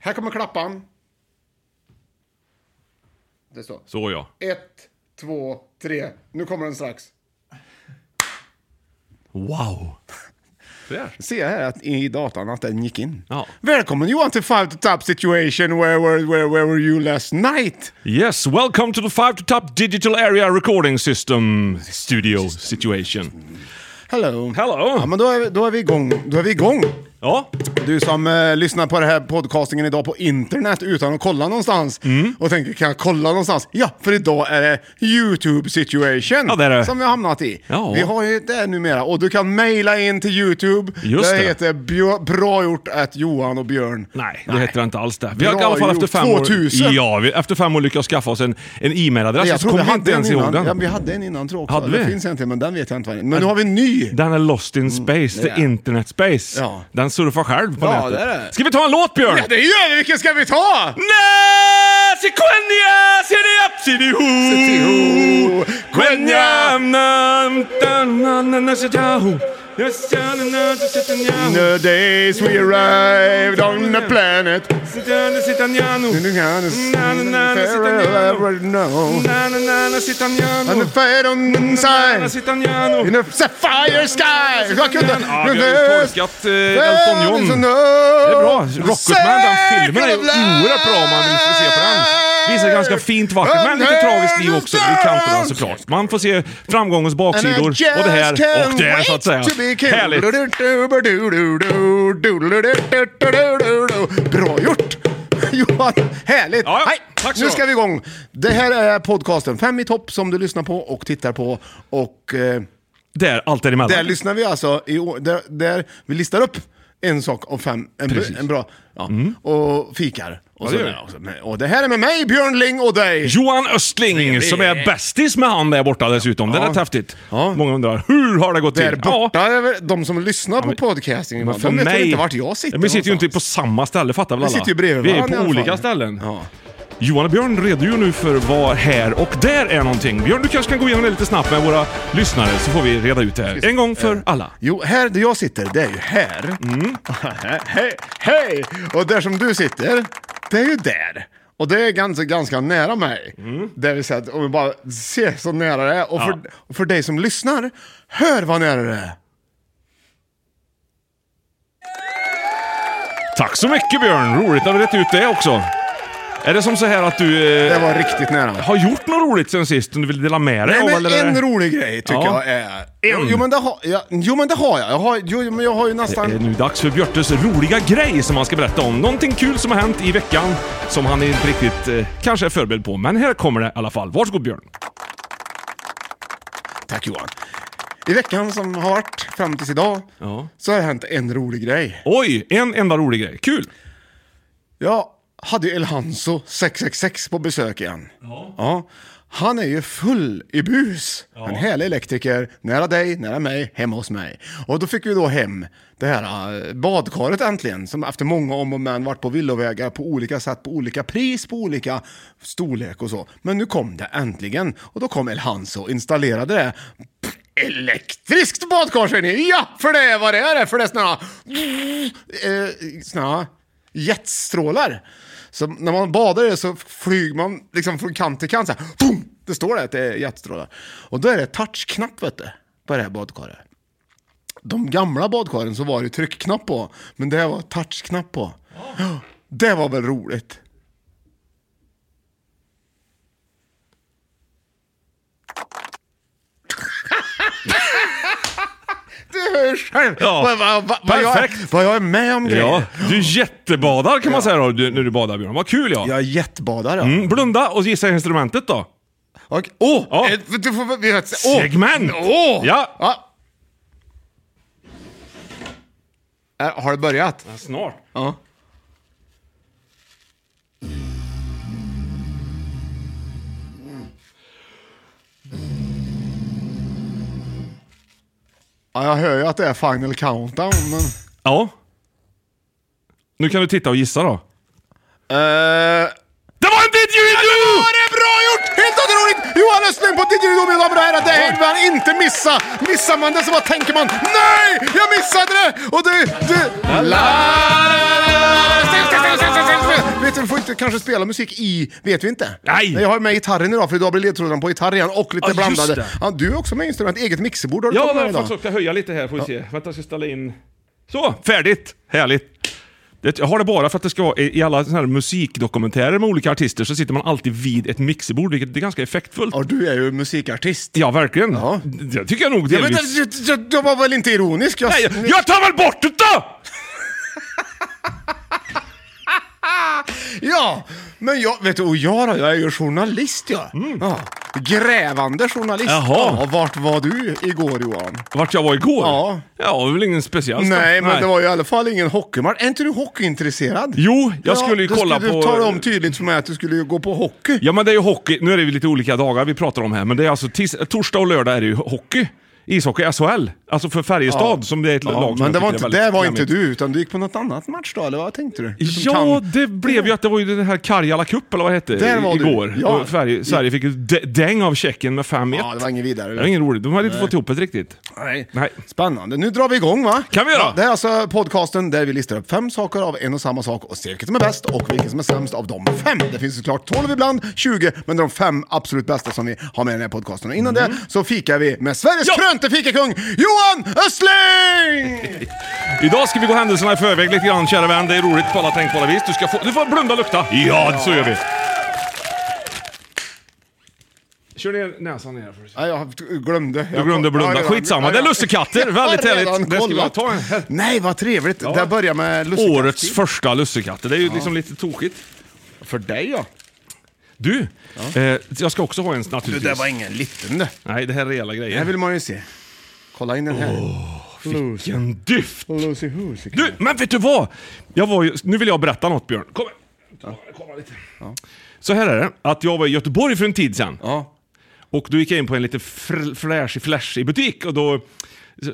Här kommer klappan. Det står. Så ja. Ett, två, tre. Nu kommer den strax. Wow. Där. Ser här att i datan att den gick in. Ja. Välkommen Johan till Five to Top Situation. Where were, where, where were you last night? Yes, welcome to the 5 to top digital area recording system studio situation. Hello. Hello. Ja, men då är, då är vi igång. Då är vi igång. Ja, Du som eh, lyssnar på den här podcastingen idag på internet utan att kolla någonstans Mm. och tänker kan jag kolla någonstans? Ja, för idag är det YouTube situation Ja, det är det. som vi har hamnat i. Ja. Vi har ju det numera och du kan mejla in till YouTube. Just det. heter bjö- bra gjort att Johan och Björn. nej, det heter det inte alls det. Vi har Bra i alla fall efter gjort. fem 2000. år... Ja, vi, efter fem år lyckats skaffa oss en, en e-mailadress. Jag Så tror vi kommer Alltså, vi hade, inte en ens ihåg innan. Ja, den. vi hade en innan tror jag också. Hade vi? Det finns en till, men den vet jag inte vad den är. Men nu har vi en ny. Den är lost in space, the Mm. Ja. internet space. Ja. Den surfar själv på Ja, nätet. det är det. Ska vi ta en låt Björn? Ja, det gör vi! Vilken ska vi ta? Nej, se Quenya, se det upp, se det ho. Quenya, nam, dan, nan, nan, nan, se da ho. Yes, ja, nan, nan, se se den ja In ho. the days we arrived on the planet Se da, nan, se den ja no. And the kind of Na, na, na, na, sitter Pharaoh ner. ever know. Na, na, na, na, se den ja And no. the fade on the Na, na, inside. se den ja no. In the sapphire sky! Jag kunde... er Ja, vi har ju tolkat eh, Elton John. Det är bra. Rocketman, den filmen är ju oerhört bra om man vill se på den. Visar ganska fint, vackert, men lite tragiskt liv också i kanterna såklart. Man får se framgångens baksidor och det här och det här så att säga. Härligt! Härligt! Bra gjort! Johan, härligt! Ja, ja. Nej, Tack så nu bra. ska vi igång. Det här är podcasten Fem i topp som du lyssnar på och tittar på. Och eh, Där, allt där däremellan. lyssnar vi alltså, i, år- där, där vi listar upp en sak av fem, en, b- Precis. Mm. en bra, ja, och fikar. Och, Ja, så det gör där vi. också. Men- och det här är med mig Björn Ling och dig. Johan Östling som är bästis med han där borta dessutom. Det är Ja. rätt häftigt. Ja. Många undrar, hur har det gått till? Där Typ. Ja. borta, är väl de som lyssnar på podcasting, Men de för vet väl mig... inte vart jag sitter Men vi sitter ju inte på någonstans. samma ställe fattar väl Vi alla? sitter ju bredvid Vi är varandra i på alla olika fall. ställen. Ja. Johan och Björn redogör nu för vad här och där är någonting. Björn, du kanske kan gå igenom det lite snabbt med våra lyssnare så får vi reda ut det här. En gång Eh. för alla. Jo, här där jag sitter, det är ju här. Mm. hej, hej! Och där som du sitter, det är ju där. Och det är ganska, ganska nära mig. Mm. Det vill säga, att om vi bara ser så nära det är. Och för, och för dig som lyssnar, hör vad nära det är. Tack så mycket Björn! Roligt att vi rätt ut det också. Är det som så här att du eh, Det var riktigt nära. har gjort något roligt sen sist som du vill dela med dig Nej, av? men eller? en rolig grej tycker Ja. jag är... En. Jo, men det har jag. Jo, men det har jag. jag har, jo, men jag har ju Det nästan... är nu dags för Björtes roliga grej som han ska berätta om. Någonting kul som har hänt i veckan som han inte riktigt eh, kanske är förberedd på. Men här kommer det i alla fall. Varsågod Björn. Tack Johan. I veckan som har varit fram tills idag Ja. så har det hänt en rolig grej. Oj, en enda rolig grej. Kul! Jag hade ju Elhanso 666 på besök igen. Ja. Han är ju full i bus. En härlig elektriker, nära dig, nära mig, hemma hos mig. Och då fick vi då hem det här eh, badkaret äntligen, som efter många om och men varit på villovägar på olika sätt, på olika pris, på olika storlek och så. Men nu kom det äntligen. Och då kom El Hanso och installerade det. Pff, Elektriskt badkar säger ni? Ja, för det är vad det är, för det är såna eh, såna jetstrålar. Så när man badar i det så flyger man liksom från kant till kant så här. Boom! Det står där att det är jetstrålar. Och då är det touchknapp vet du, på det här badkaret. De gamla badkaren så var det tryckknapp på, men det här var touchknapp på. Ja, Det var väl roligt? Du hör ju själv Ja, vad, vad, vad, vad, jag, perfekt. vad jag är med om grejer. Ja, du jättebadar kan man säga då, du, när du badar Björn. Vad kul ja. Jag är jetbadare. ja. Mm, blunda och gissa instrumentet då. Och, åh! Ja. eh, Du får, vi vet, åh! Segment! Åh! Ja. Ja. Äh, Har det börjat? Snart. Ja. Ja, jag hör ju att det är final countdown, men... Ja. Nu kan du titta och gissa då. Uh... Det var en didgeridoo! Ja, det är bra gjort! Helt otroligt! Johan Östling på Didgeridoo, mina damer och herrar. Det här vill man inte missa. Missar man det så vad tänker man? Nej! Jag missade det! Och du, du... La, la, la. Vet du, vi får inte kanske spela musik i... Vet vi inte. Nej. Jag har med gitarren idag, för idag blir ledtrådarna på gitarr igen och lite Ja, just blandade. det. Ja, du är också med instrument. Eget mixerbord har du Ja, tagit med jag idag. faktiskt också. Jag höja lite här får vi se. Vänta, jag ska ställa in. Så, färdigt! Härligt. Det, jag har det bara för att det ska vara i i alla såna här musikdokumentärer med olika artister så sitter man alltid vid ett mixerbord, vilket är ganska effektfullt. Ja, du är ju musikartist. Ja, verkligen. Ja. Det tycker jag nog Ja, men delvis. jag, jag, jag var väl inte ironisk? Jag, Nej, jag tar väl bort det då! Ja, men jag, vet du, och jag då? Jag är ju journalist jag. Ja. Grävande journalist. Mm. Jaha. Ja, vart var du igår Johan? Vart jag var igår? Ja. Ja, det var väl ingen speciell sak. Nej, men det var ju i alla fall ingen hockeymatch. Är inte du hockeyintresserad? Jo, jag skulle ju då kolla skulle Du på- talade om tydligt för mig att du skulle ju gå på hockey. Ja, men det är ju hockey. Nu är det ju lite olika dagar vi pratar om här, men det är alltså tis- torsdag och lördag är det ju hockey. Ishockey, SHL. Alltså för Färjestad som det är ett Ja, lag som men jag det var tycker inte, är där väldigt var inte glammigt. du, utan du gick på något annat match då, eller vad tänkte du? du? som Ja, Liksom kan- det blev ju att det var ju den här Karjala Cup, eller vad det hette, Där var du. igår. Ja. Och Sverige, Sverige fick ju d- däng av Tjeckien med 5-1. Ja, det var ingen vidare. Det var ingen roligt. De hade inte fått ihop det riktigt. Nej. Nej. Spännande. Nu drar vi igång va? Kan vi göra? Ja, det här är alltså podcasten där vi listar upp fem saker av en och samma sak och ser vilket som är bäst och vilken som är sämst av de fem. Det finns såklart 12 ibland, 20, men det är de fem absolut bästa som vi har med i den här podcasten. Och innan det så fikar vi med Sveriges Mm. Ja! krönte fikakung Johan Östling! Idag ska vi gå händelserna i förväg lite grann, kära vän. Det är roligt på alla tänkbara vis. Du, ska få, du får blunda och lukta. Ja, så gör vi. Kör ner näsan ner först. Nej, jag glömde. Du glömde blunda. Skitsamma, det är lussekatter. Väldigt härligt. Det Det ska vi ta en här. Nej, vad trevligt. Det börjar med lussekatter. Årets första lussekatter. Det är ju liksom lite tokigt. För dig ja. Du, eh, jag ska också ha en naturligtvis. Det där var ingen liten det. Nej, det här är rejäla grejer. Här vill man ju se. Kolla in den här. Lucy. Vilken dyft! Lucy Husey. Du, men vet du vad? Jag var ju, nu vill jag berätta något Björn. Kom här. Kolla lite. Så här är det, att jag var i Göteborg för en tid sedan. Ja. Och då gick jag in på en lite fr- flashig, flashig butik och då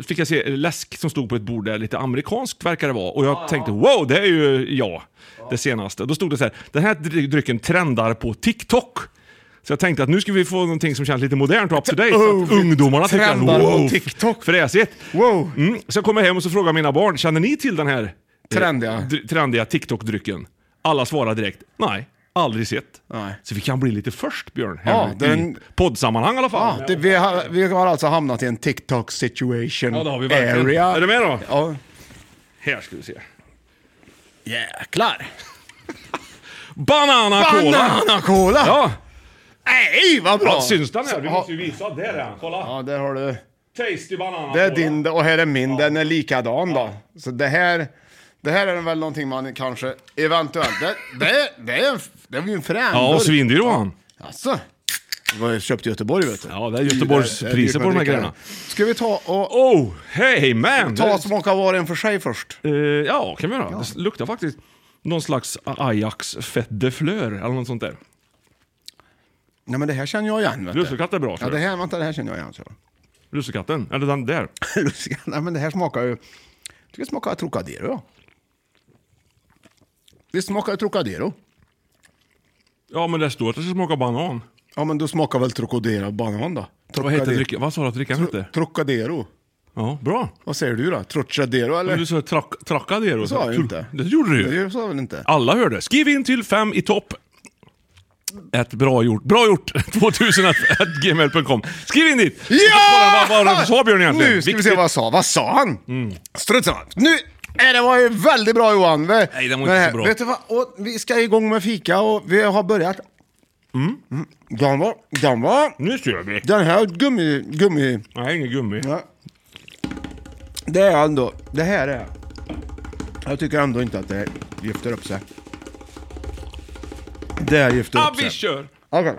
fick jag se läsk som stod på ett bord där, lite amerikanskt verkar det vara. Och Ah. jag tänkte wow, det är ju jag, det senaste. Då stod det så här, den här dry- drycken trendar på TikTok. Så jag tänkte att nu ska vi få någonting som känns lite modernt och up to date. så att Oh, ungdomarna tycker trendar på wow, TikTok." fräsigt. Wow. Mm. Så jag kommer hem och så frågar mina barn, känner ni till den här eh, Trendiga. dr- trendiga TikTok-drycken? Alla svarar direkt, nej, aldrig sett. Nej. Så vi kan bli lite först Björn, här Ja, nu, i den- poddsammanhang i alla fall. Ja, det, vi, har, vi har alltså hamnat i en TikTok situation Ja, det har vi verkligen. area. Är du med då? Ja. Här ska vi se. Jäklar! Banana cola! Bananakola! Ja, Nej, vad bra! ja. syns den här? Vi Så- måste ju visa. Där är han, kolla. Ja, där har du. Tasty banana Det är din och här är min. Den är likadan då. Så det här, det här är väl någonting man kanske eventuellt... Det, det, det, är, en- det är ju en frän Ja, och burk. svindyr var han. Alltså. Det var ju köpt i Göteborg vet du. Ja, det är Göteborgspriser Det är dyrt på de här att dricka. grejerna. Ska vi ta och Oh, hey man! ta Det- och smaka var och en för sig först? Eh, ja, kan vi göra. Det luktar faktiskt någon slags Ajax Fête de Fleur eller något sånt där. Nej men det här känner jag igen. Vet du. Lussekatt är bra, Ja, tror det jag. här, vänta, det här känner jag igen. Så. Lussekatten, eller den där. Lussekatt, Nej men det här smakar ju... Jag tycker det smakar Trocadero. ja. Det smakar Trocadero. Ja, men det står att det ska smaka banan. Ja men då smakar väl Trocadero banan då? Vad heter Trocadero. drickan? Vad sa du att drickan hette? Trocadero. Ja, bra. Vad säger du då? Trocadero eller? Men du sa trak- Tracadero. det sa jag ju inte. Det gjorde du ju. Det sa jag väl inte? Alla hörde. Skriv in till fem i topp. Ett bra gjort. Bra gjort! 2001 gmail.com. Skriv in dit! Så kollar vi Vad vad var det sa Björn egentligen? Nu ska vi Viktigt. Mm. se vad jag sa. Vad sa han? Struntsamma. Nu! Nej, det var ju väldigt bra Johan. Vi, Nej, den var men inte så här, bra. Vet du vad? Och vi ska igång med fika och vi har börjat. Mm. Den var... Den var... Nu kör vi! Den här gummi... gummi Nej, ingen gummi. ja. Det är ändå... Det här är... Jag tycker ändå inte att det gifter upp sig. Det här gifter Ja, upp vi sig. kör! Okej.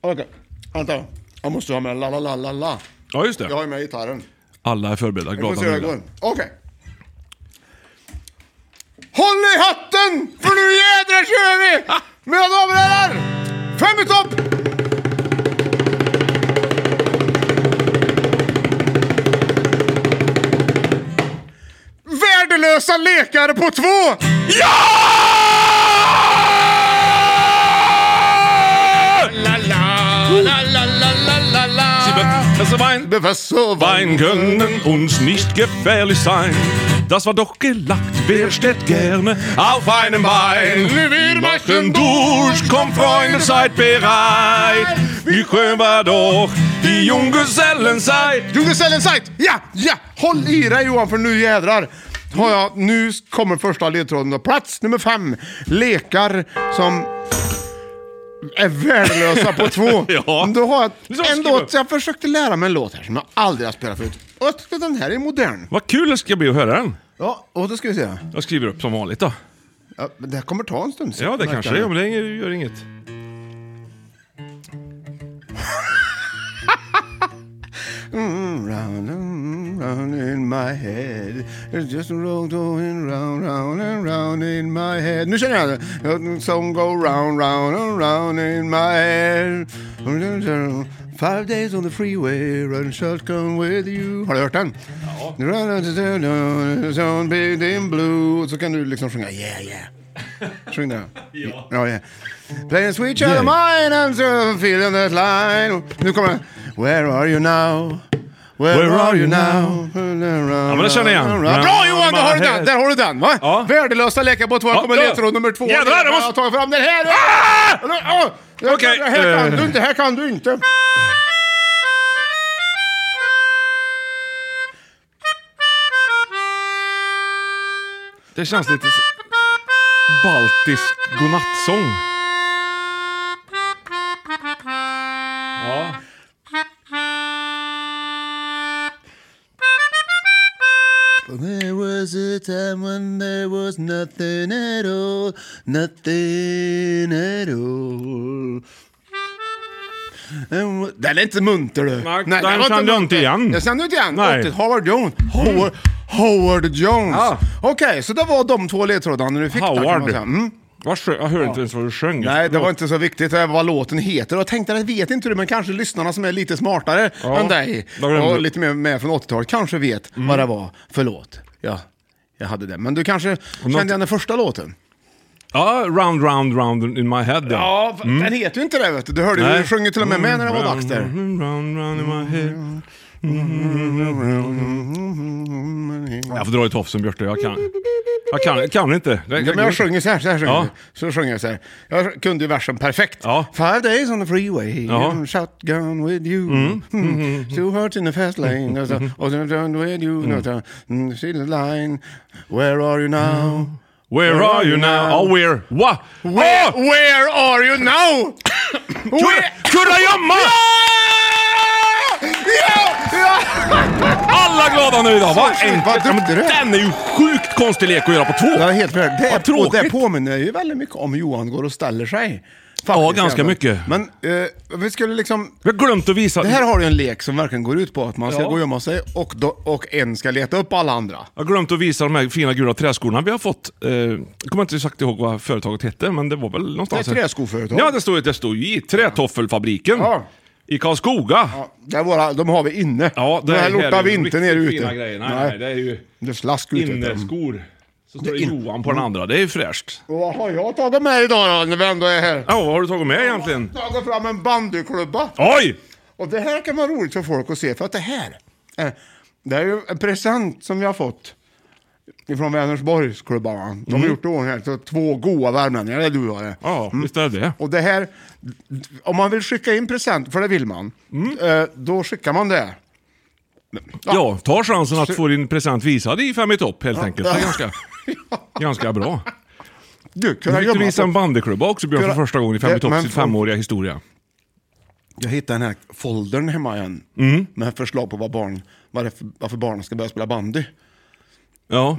Okej. Vänta. Jag måste ha med la la la la la. Ja, just Jag har det. ju med gitarren. Alla är förberedda, Vi får glada se hur det nöjda. går. Okej. Håll i hatten! För nu jädrar kör vi! Mina damer och herrar! Fem i topp! Värdelösa lekare på två! Also Wein, Professor Wein können uns nicht gefährlich sein. Das war doch gelacht, wer steht gerne auf einem Bein? Wir machen durch, komm Freunde, seid bereit. Wir können wir doch die Junggesellenzeit. Djungelcellen sajt! Ja, ja! Håll i dig Johan för nu jädrar har jag, nu kommer första ledtråden då. Plats nummer fem. Lekar som är värdelösa på två. Ja. Då har Det är så jag en skriva. låt, jag försökte lära mig en låt här som jag aldrig har spelat förut. Och jag tycker den här är modern. Vad kul det ska bli att höra den. Ja, och då ska vi se. Jag skriver upp som vanligt då. Ja, men det här kommer ta en stund. Ja, det kanske det gör, men det gör inget. Round and round in my head It's just a road going round, round and round in my head Nu känner jag det. Some go round, round and round in my head Five days on the freeway, run shotgun with you Har du hört den? Ja. Some big in blue Så kan du liksom sjunga yeah yeah Sjung den. Ja. ja yeah. Playing sweet child of mine, I'm still feeling that line. Nu kommer den. Where are you now? Where, Where are are you you now? Ja, men det känner jag igen. Bra Johan, där har du den! Där har du den, va? Ja. Värdelösa lekar på två. Här Ja, kommer ja. ledtråd nummer två. Jävlar, Jag jag måste- har tagit fram den här! Ah! Okej, Det här kan eh. du inte, här kan du inte. Det känns lite s- baltisk godnattsång. Ja. There was a time when there was nothing at all, nothing at all. And what- Den är inte munter du. Nej, den den var kände jag inte igen. Jag kände inte igen. Nej. 80, Howard Jones. Howard, Howard Jones. Ja. Okej, så det var de två ledtrådarna du fick där kan man Howard. säga. Mm. Vad sjö- Jag hörde inte ens vad du sjöng. Nej, det var inte så viktigt eh, vad låten heter. Jag tänkte, det vet inte du, men kanske lyssnarna som är lite smartare Ja. än dig Då glömde och du. Mm. lite mer med från 80-talet kanske vet vad det var för låt. Ja, jag hade det. Men du kanske kände igen den första låten? Ja, round, round, round in my head. Ja, f- den heter ju inte det vet du. Du hörde ju, Mm. Nej. Mm. du sjöng ju till och med med när det var Round, dags där. Round, round, round in my head. Mm. Jag får dra i tofsen Björte, jag kan. Jag kan, jag kan inte. Det, Ja, men jag sjunger så här, så här sjunger Ja. jag. Så sjunger jag så här. Jag kunde ju versen perfekt. Ja. Five days on the freeway, Ja. Mm-hmm. and shotgun with you. Mm. Two hearts in the fast lane, och så- och så done with you. Mm. Mm. see the line, where are you now? Mm. Where are you now? Oh, where? What? Where, Oh! where are you now? where? Kurragömma! Ja! Alla glada nöjda, va? Så sjukt, vad Ja, men duktig du är. Den är ju sjukt konstig lek att göra på två. Ja, helt klart. Det, Vad är, och det tråkigt. påminner ju väldigt mycket om Johan går och ställer sig. Ja, Faktiskt, ganska egentligen. mycket. Men eh, vi skulle liksom... Vi har glömt att visa... Det här har ju en lek som verkligen går ut på att man ska Ja. gå och gömma sig och, då, och en ska leta upp alla andra. Jag har glömt att visa de här fina gula träskorna vi har fått. Eh, jag kommer inte exakt ihåg vad företaget hette, men det var väl någonstans... Det är ett träskoföretag. Ja, det står, det står ju i Trätoffelfabriken. Ja. I Karlskoga. Ja, Ja, det är våra, de har vi inne. det här lortar vi inte ner riktigt ute. Fina grejer. Nej, nej. det är ju Det är slask ute. inneskor. Så står det Det är in- Mm. Johan på den andra. Det är ju fräscht. Och vad har jag tagit med idag då, när vi ändå är här? Ja, vad har du tagit med egentligen? Jag har tagit fram en bandyklubba. Oj! Och det här kan vara roligt för folk att se, för att det här är, det är ju en present som vi har fått ifrån Vänersborgsklubbarna. De har gjort det i ordning här, så två goa värmlänningar, det är du och jag. Mm. Mm. Ja, visst är det Och det här, om man vill skicka in present, för det vill man, Mm. eh, då skickar man det. Ja, ta chansen att få din present visad i Fem i topp helt enkelt. Det är ganska, ganska bra. Du, Du kunna fick du gömma visa en bandyklubba också Björn för Kunna- första gången i Fem i Det- topp, men- sin femåriga historia. Jag hittade den här foldern hemma igen, Mm. med förslag på vad barn, vad det är för, varför barnen ska börja spela bandy. Ja.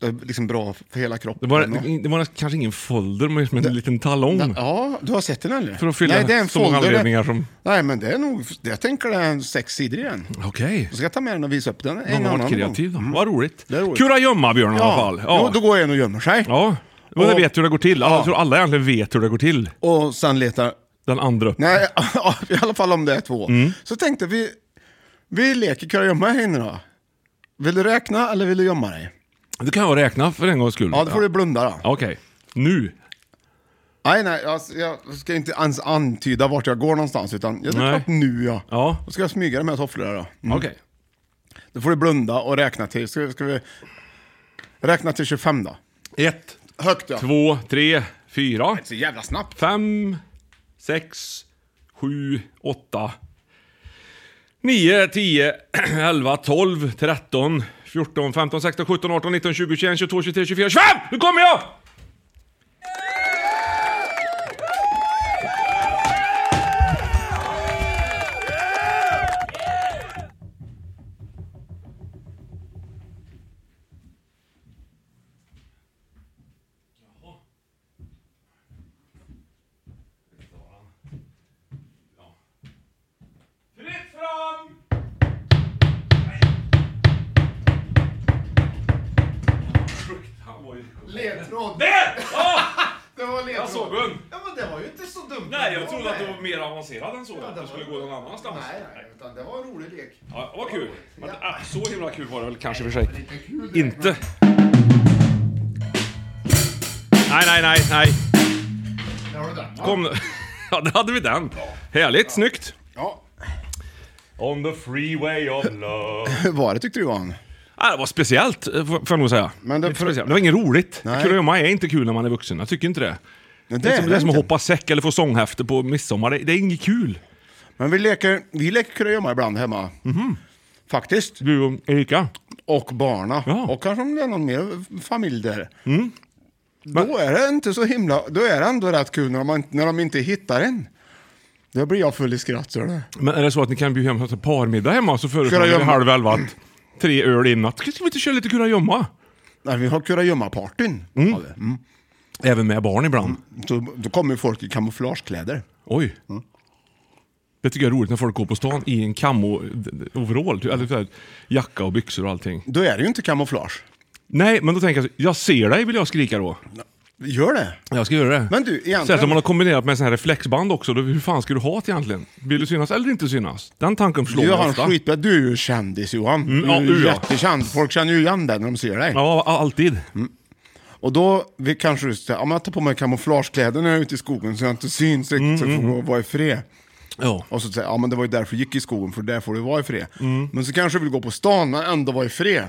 Det är liksom bra för hela Det kroppen. var, och- det, det var kanske ingen folder, men som en liten talong. Mm. Ja, du har sett den eller? För att fylla så många anledningar som- Nej, men det är nog... Jag tänker det är en sex sidor igen. Okej. Jag ska ta med den och visa upp den en Han har annan varit kreativ. då. gång. Mm. Vad roligt. Det är roligt. Kurragömma Björn i alla fall. Jo, då går en och gömmer sig. ja. Och det Och- vet hur det går till. Alla, Ja. Jag tror alla egentligen vet hur det går till. Och sen letar... Den andra upp. Nej, i alla fall om det är två. Mm. Så tänkte vi... Vi leker kurragömma här inne då. Vill du räkna eller vill du gömma dig? Det kan jag räkna för en gångs skull. Ja, Mm. då får du blunda då. Okej. Nu. Nej, nej, jag, jag ska inte ens antyda vart jag går någonstans, utan jag, det Nej. är klart nu ja. Ja. Då ska jag smyga de här tofflorna då. Mm. Okej. Då får du blunda och räkna till. Ska, ska vi räkna till 25 då? Ett, Högt ja. två, tre, fyra, Så jävla snabbt. fem, sex, sju, åtta, nio, tio, elva, tolv, tretton, fjorton, femton, sexton, sjutton, arton, nitton, tjugo, tjugoett, tjugotvå, tjugotre, tjugofyra, tjugofem! Nu kommer jag! Fritt fram! Ledtråd. Där! Ja! Det var ledtråd. Jag såg den. Ja, men det var ju inte så dumt. Nej, jag ändå, trodde att det nej. var mer avancerad än så. att det skulle gå någon annanstans. Nej, nej, utan det var en rolig lek. Ja, vad kul. Men ah, så himla kul var det väl kanske för sig. Inte. Nej, nej, nej, nej. Där har du den. va? Kom nu. Ja, där hade vi den. Härligt, snyggt. Ja. On the freeway of love. Hur var det tyckte du Johan? Ah, det var speciellt, eh, får får jag nog säga. Men det- Lite speciellt. det var inget roligt. Nej. Kurragömma är inte kul när man är vuxen. Jag tycker inte det. Det, Det är, som, det är som att inte. hoppa säck eller få sånghäfte på midsommar. Det, det är inget kul. Men vi leker, vi leker kurragömma ibland hemma. Mhm. Faktiskt. Du och Erika? Och barna. Ja. Mm. Och kanske om det är någon mer familj där. Då är det inte så himla... Då är det ändå rätt kul när de, när de inte hittar en. Då blir jag full i skratt, ser du. Men är det så att ni kan bjuda hem en parmiddag hemma så föreslår ni vid Kurragömma. halv elva att tre öl innan. Ska ska vi inte köra lite kurragömma? Nej, vi har kurragömma-partyn. har vi. Mm. Även med barn ibland. Så Då kommer ju folk i kamouflagekläder. Oj. Mm. Det tycker jag är roligt när folk går på stan i en camo-overall. Eller så här, jacka och byxor och allting. Då är det ju inte kamouflage. Nej, men då tänker jag så, jag ser dig vill jag skrika då. Gör det. Jag ska göra det. Men du, egentligen- Särskilt om man har kombinerat med sån här reflexband också. Då, hur fan ska du ha det egentligen? Vill du synas eller inte synas? Den tanken slår Du mig har en ofta. skitbra... Du är ju kändis Johan. ja, du är ju Mm. ja. jättekänd. Folk känner ju igen dig när de ser dig. Ja, alltid. Mm. Och då vi kanske du säger, om jag tar på mig kamouflagekläder när jag är ute i skogen så jag inte syns riktigt så jag får gå- vara i fred. Ja. Och så säger jag, ja men det var ju därför jag gick i skogen, för där får du vara i fred. Men så kanske du vill gå på stan men ändå vara i fred.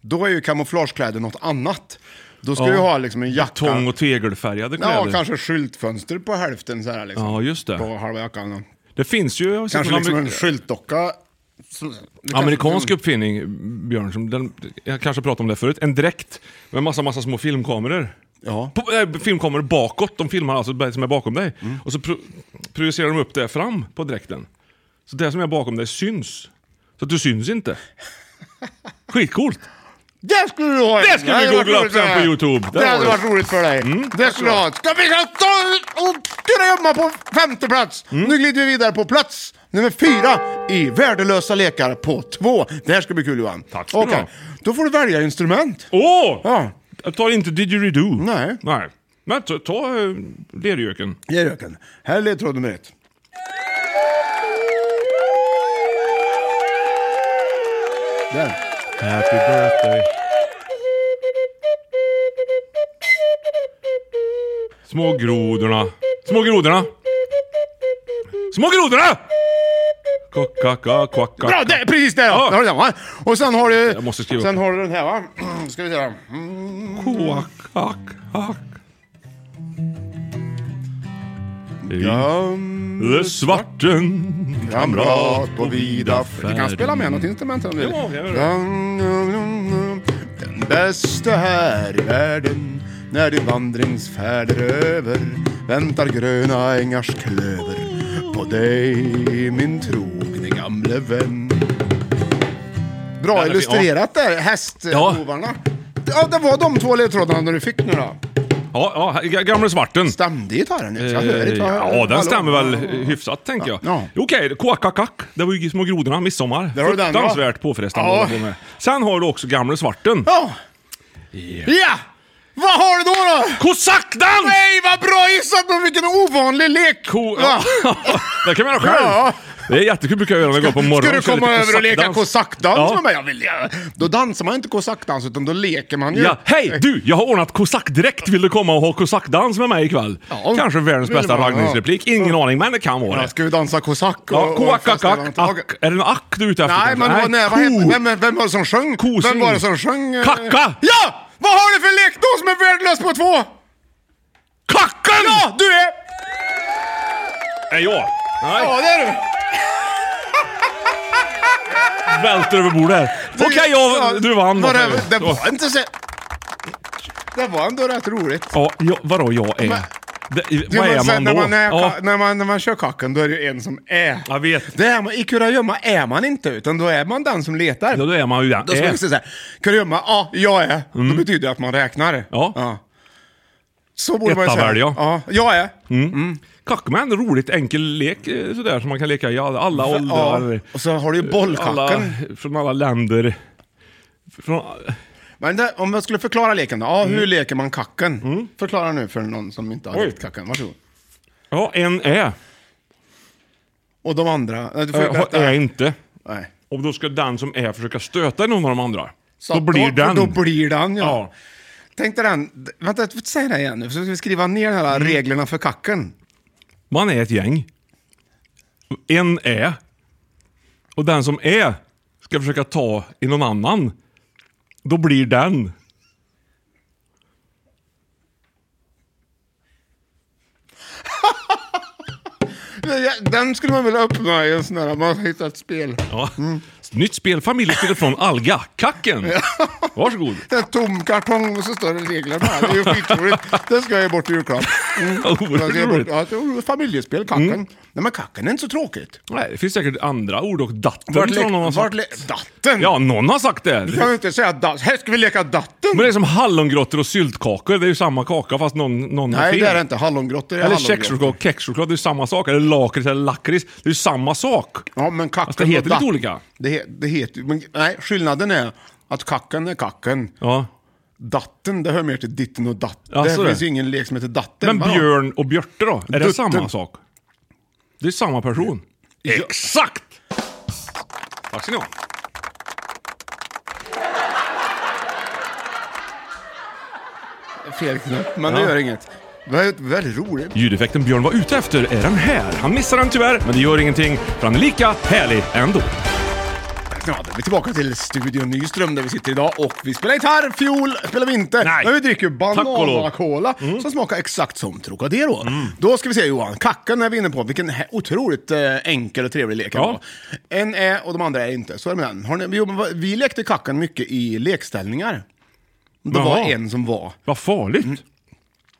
Då är ju kamouflagekläder något annat. Då ska Ja. du ha liksom en jacka. Tång och tegelfärgade kläder. Ja, kanske skyltfönster på hälften så här liksom. Ja, just det. På halva jackan. Det finns ju... jag har sett Kanske en liksom amer- en skyltdocka. Amerikansk uppfinning, Björn, som den, jag kanske pratade om det förut. En dräkt med massa, massa små filmkameror. Ja. På, äh, filmkameror bakåt, de filmar alltså det som är bakom dig. Mm. Och så pro, projicerar de upp det fram på dräkten. Så det som är bakom dig syns. Så att du syns inte. Skitcoolt! Det skulle du ha! Det skulle hade vi varit googla roligt upp sen för på dig. YouTube. Det, hade varit roligt för dig. Mm. Det skulle du ha. Ska vi ta och skrämma på femte plats? Mm. Nu glider vi vidare på plats nummer fyra i Värdelösa lekar på två. Det här ska bli kul Johan. Tack ska du Okej. ha. Då får du välja instrument. Åh! Ja. Jag tar inte didgeridoo. Nej. Nej. Men ta, ta eh, lergöken. Ge röken. Här är ledtråd nummer ett. Där. Happy birthday. Små grodorna. Små grodorna. Små grodorna! Kocka, kocka, Bra, det, precis där! Ja. Ja. Där har du den va? Och sen har du... Jag måste skriva sen upp. har du den här va? Mm, Ska vi se Mm. här. Kåk, hack, hack. Gamla Det svarten Kamrat på vida färden. Du kan spela med något instrument om du vill. Ja, jag gör det. Den bästa här i världen när din vandringsfärd är över väntar gröna ängars klöver på dig min trogne gamle vän. Bra fin. illustrerat där, Ja. hästhovarna. Ja, det var de två ledtrådarna du fick nu då. Ja, ja, gamle svarten. Stämde gitarren? Jag hör Eh, inte. vad- Ja, den Hallå? stämmer väl hyfsat, tänker jag. Ja. Okej, kåkakack. Det var ju Små grodorna, midsommar. Där har du den, va? Fruktansvärt påfrestande Ja. att hålla på med. Sen har du också Gamle Svarten. Ja! Ja! Vad har du då då? Kosackdans! Nej, vad bra gissat! Men vilken ovanlig lek! Ko... Va? Ja. det kan man göra själv. Ja. Det är jättekul, brukar jag göra när jag går på morgonen. Ska du och kör komma lite över och leka kosackdans Ja. med mig? Jag vill, ja. Då dansar man inte kosackdans, utan då leker man ju. Ja, hej du! Jag har ordnat kosackdräkt. Vill du komma och ha kosackdans med mig ikväll? Ja. Kanske världens Vill bästa man, ja. raggningsreplik. Ingen aning, men det kan vara Ja, det. Ska vi dansa kosack? Ja, koakack, festa ack, runt? ack. Är det en ack du är ute efter? Nej, men vad, nej, vad ko. hette, vem, vem var det som sjöng? Kosing. Vem var det som sjöng? eh? Kacka! Ja! Vad har du för lek då som är värdelös på två? Kacken! Ja, du är... Är jag? Nej, Ja, det är du! välter över bordet. Okej, jag, du vann. Var det, Varför? det var inte så... Det var ändå rätt roligt. Ja, ja, vadå jag är? Det, Du, vad men är sen man då? när man, är, ja. ka- när, man, när man kör kacken då är det ju en som är. Jag vet. Det är man, I kurragömma är man inte, utan då är man den som letar. Eh. ja, då är man ju den. Då ska Äh. man säga såhär, kurragömma, ja, jag är. Då betyder det att man räknar. Ja. Så borde man ju Etta säga. väljer jag. Ja, jag Mm, är. Kackman, roligt enkel lek eh, sådär som man kan leka i alla, alla åldrar. Ja. Och så har du ju bollkacken. Alla, från alla länder. Från, Men det, om jag skulle förklara leken då, ja, hur leker man kacken? Förklara nu för någon som inte har Oj. lekt kacken, varsågod. ja, en är. Eh, Och de andra, nej, du får ju Äh, berätta. är inte. Nej. Och då ska den som är försöka stöta någon av de andra. Så då blir den. Då blir den, ja. Ja. Tänk dig den, vänta, jag får inte säga det igen nu, så ska vi skriva ner alla reglerna för kacken. Man är ett gäng. En är. Och den som är ska försöka ta i någon annan. Då blir den. Ja, Den skulle man vilja öppna i en sån här, man har hittat ett spel. Ja. Mm. Nytt spel, familjespelet från Alga. Kacken! Varsågod. Det är en tom kartong och så står det regler på här. Det är ju skitroligt. Det ska jag ge bort i julklapp. Mm. Oerhört Jag ska ge bort- roligt. Ja, det är familjespel, kacken. Mm. Nej men kacken är inte så tråkigt. Nej, det finns säkert andra ord och datten tror jag någon har lek- sagt. vart lek- Datten? Ja, någon har sagt det. Kan vi inte säga datten? Här ska vi leka datten! Men det är som hallongrottor och syltkakor. Det är ju samma kaka fast någon, någon har Nej fel. det är det inte, hallongrottor är Eller hallongrottor. kexchoklad och kexchoklad, det är ju samma sak. Eller lakrits eller lakrits, det är ju samma sak. Ja men kacken Fast det heter och lite datt- olika. Det, he- det heter men, nej skillnaden är att kacken är kacken. Ja. Datten, det hör mer till ditten och datten. Ja, så det det. finns ju ingen lek som heter datten. Men Vadå? björn och björte då? Är det Dutten. samma sak? Det är samma person. Exakt! Tack ska ni ha. Fel knapp, men det Ja. gör inget. Det var ju väldigt roligt. Ljudeffekten Björn var ute efter är den här. Han missar den tyvärr, men det gör ingenting, för han är lika härlig ändå. Ja, då är vi tillbaka till Studion Nyström där vi sitter idag och vi spelar gitarr, fiol spelar vi inte. Nej. Men vi dricker ju Tack och lov. Mm. bananacola som smakar exakt som Trocadero. Då ska vi se Johan, kacken är vi inne på. Vilken hä- otroligt eh, enkel och trevlig lek det Ja. var. En är och de andra är inte. Så är det med den. Har ni, jo, men vad- vi lekte kacken mycket i lekställningar. Det var Jaha. en som var. Vad farligt. Mm.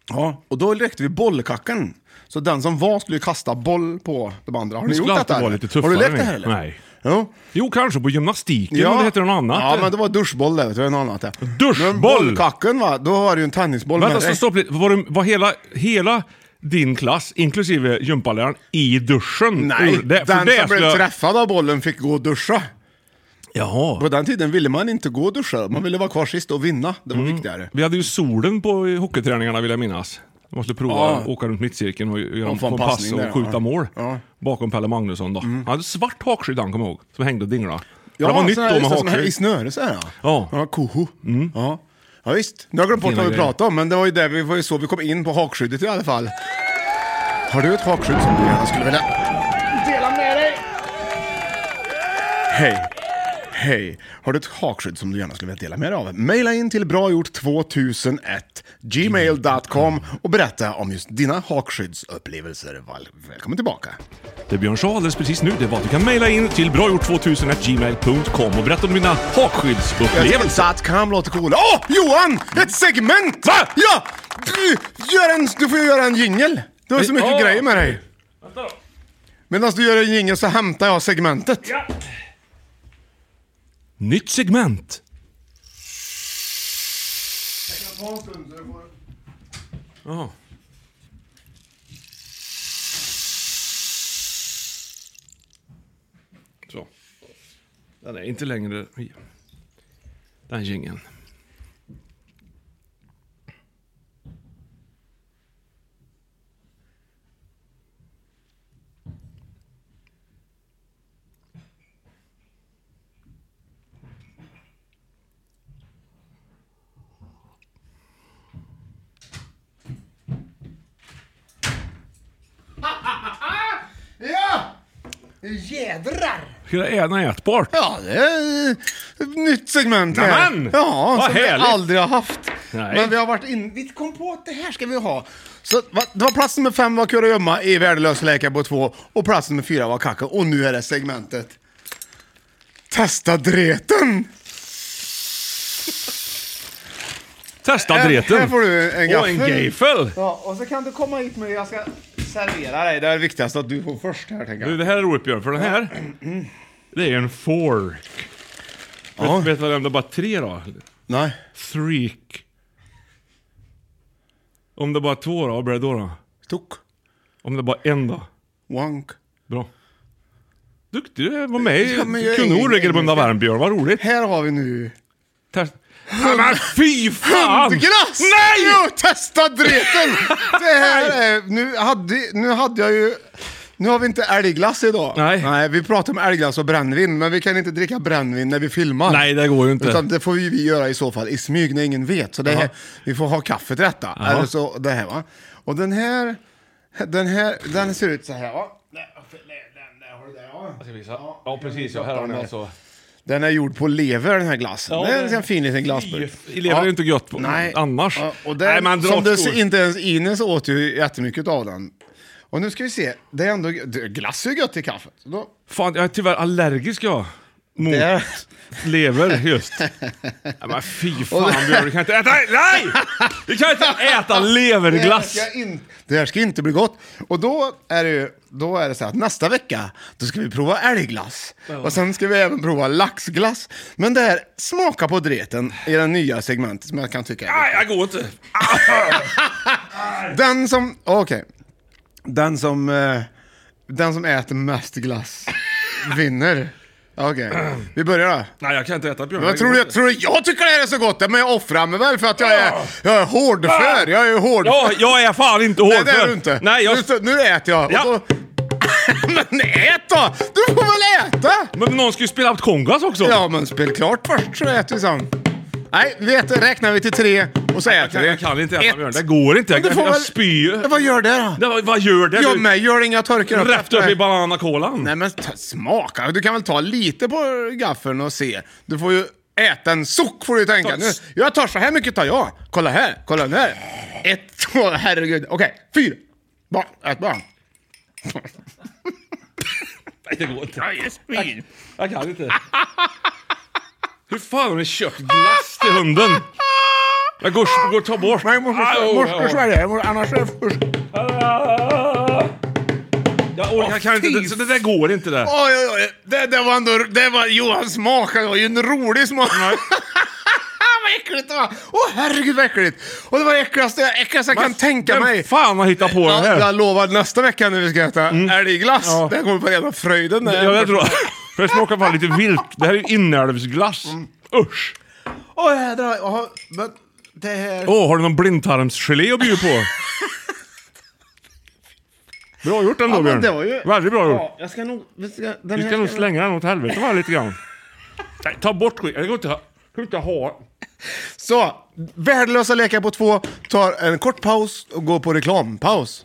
Ja. Och då lekte vi bollkacken. Så den som var skulle ju kasta boll på de andra. Har ni Det skulle gjort alltid detta? vara eller? lite tuffare. Har du lekt det här än- eller? Nej. Jo. Jo, kanske på gymnastiken, men det heter något annat. Ja, men det var duschboll det, vet du, något annat. det. Duschboll? Men bollkacken va, då var det ju en tennisboll Vänta, med dig. så stopp lite. Var, det- var hela, hela din klass, inklusive gympaläraren, i duschen? Nej, Ur- den det- för det som blev skulle jag- träffad av bollen fick gå och duscha. På Jaha. den tiden ville man inte gå och duscha, man ville vara kvar sist och vinna. Det Mm. var viktigare. Vi hade ju solen på hockeyträningarna vill jag minnas. Man skulle prova Ja. att åka runt mittcirkeln och göra Och en få en kompass passning och där, skjuta ja. mål. Ja. Mm. Bakom Pelle Magnusson då. Han hade svart hakskydd han, kommer jag ihåg. Som hängde och dinglade. Ja, det var nytt då sån här- med just det, sån här I hakskydd. snöre så här ja. Ja. Mm. Ja, koho. Ja. ja, visst. Nu har jag glömt bort Fina vad vi grejer. pratade om, men det var ju, där, vi var ju så vi kom in på hakskyddet i alla fall. Har du ett hakskydd som du gärna skulle vilja dela med dig? Hej. Hej! Har du ett hakskydd som du gärna skulle vilja dela med dig av? Maila in till bragjort2001 gmail.com och berätta om just dina hakskyddsupplevelser. Val- Välkommen tillbaka! Det Björn sa alldeles precis nu det var att du kan mejla in till bragjort2000gmail.com och berätta om dina hakskyddsupplevelser. Level.com låter cool. Åh! Johan! Ett segment! Va? Ja! Du, gör en, du får göra en jingel. Du har så mycket Ja. grejer med dig. Medan du gör en jingel så hämtar jag segmentet. Nytt segment. Jaha. Så. Den är inte längre i. Den jingeln. Ja! Jädrar! Hela ena är ätbart. Ja, det är ett nytt segment Nämen! Ja, Vad som vi härligt. aldrig har haft. Nej. Men vi har varit in... Vi kom på att det här ska vi ha. Så va, det var plats nummer fem var kurragömma i Värdelös läkare på två och plats nummer fyra var kacka och nu är det segmentet. Testa dreten! Testa Här- dreten. Här får du en Och en gaffel. gaffel. Ja, och så kan du komma hit med, jag ska servera dig. Det är viktigast att du får först här tänker Du, jag. det här är roligt Björn, för den här, det är en fork. Vet, vet du vad det är? bara tre då? Nej. Threak. Om det bara är två då, vad blir det då? då? Tok. Om det bara är en då? Wank. Bra. Duktig du är, var med i Ja, men jag är Kunde ingen- oregelbundna ingen- värm Björn, vad roligt. Här har vi nu Test. Ja, men fy fan! Hundglass! Nej! Jo, testa dreten! Det här är, nu, hade, nu hade jag ju... Nu har vi inte älgglass idag. Nej. vi pratar om älgglass och brännvin, men vi kan inte dricka brännvin när vi filmar. Nej, det går ju inte. Utan det får ju vi göra i så fall i smyg när ingen vet. Så det här, Jaha. vi får ha kaffet rätta. Jaha. Eller så det här va. Och den här, den här, den ser ut så här va. Den, den, den, har du där, va? Ja precis, ja, här har ni alltså. Den är gjord på lever den här glassen. Ja, det är en det- sån här fin liten glassburk. I lever är ju inte gött på- annars. Ja, Och den, Nej, men dra som åt du skor. ser, inte ens Ines åt ju jättemycket av den. Och nu ska vi se, det är ändå, det- glass är ju gött i kaffet. Då, Fan, jag är tyvärr allergisk jag. Mot Där. lever just. Ja, men fy fan Björn, du kan inte äta... Nej! Du kan inte äta leverglass! Det här, ska in, det här ska inte bli gott. Och då är det ju, då är det så här att nästa vecka, då ska vi prova älgglass. Och sen ska vi även prova laxglass. Men det här, smaka på dreten i det nya segmentet som jag kan tycka är Nej, jag går inte. Den som, okej. Den som, eh, den som äter mest glass vinner. Okej, vi börjar då. Nej, jag kan inte äta Björn. Vad tror du, jag, tror du jag tycker det här är så gott? Men jag offrar mig väl för att jag är, jag är hårdför. Jag är hårdför. Ja, jag är fan inte hård Nej det är du inte. Nej, jag... nu, stå- nu äter jag. Ja. Och då... men ät då! Du får väl äta! Men någon ska ju spela upp kongas också. Ja men spel klart först så äter vi sen. Nej, vi äter, räknar vi till tre och så äter kan- vi. jag kan inte äta, Ett. Björn. Det går inte. Jag- Men du får jag väl- spyr. Ja, Vad gör det då? Nej, vad- vad gör det? Ja, Du- mig gör det inga torkar upp. Rätt upp i bananakolan. Nej men ta, smaka, du kan väl ta lite på gaffeln och se. Du får ju äta en suck får du ju tänka. Nu, jag tar så här mycket tar jag. Kolla här, kolla där. Ett, två, herregud. Okej, fyra. Barn, ett barn. Nej, det går inte. Jag, Ah! jag kan inte. Hur fan har ni köpt glass till hunden? Jag går, går och tar bort. Nej, morsan, Au, morsan, au. morsan, annars är det... usch. Ah! Jag, orkar, jag kan inte, fy så det där går inte där. Oj, oj, oj. Det, det var ändå... Det var Johans smak. Det var ju en rolig smak. vad äckligt det var! Åh herregud vad äckligt! Och det var det äckligaste, äckligaste jag kan tänka Vem mig. fan har hittat på den Ja, här? jag lovar nästa vecka när vi ska äta älgglass, Mm. Ja. det här kommer på rena fröjden. Ja, jag tror... Först smakar det fan lite vilt. Det här är ju inälvsglass. Mm. Usch! Åh jädrar, jaha, men det här... Åh, har du någon blindtarmsgelé att bjuda på? Bra gjort ändå Ja, men Björn. det var ju... Väldigt bra gjort. Ja, jag ska nog... Vi ska, den Vi här ska nog slänga den åt helvete bara lite grann. Nej, ta bort skiten. Det går inte att ha. det går inte att ha. Så, värdelösa lekar på två, tar en kort paus och går på reklampaus.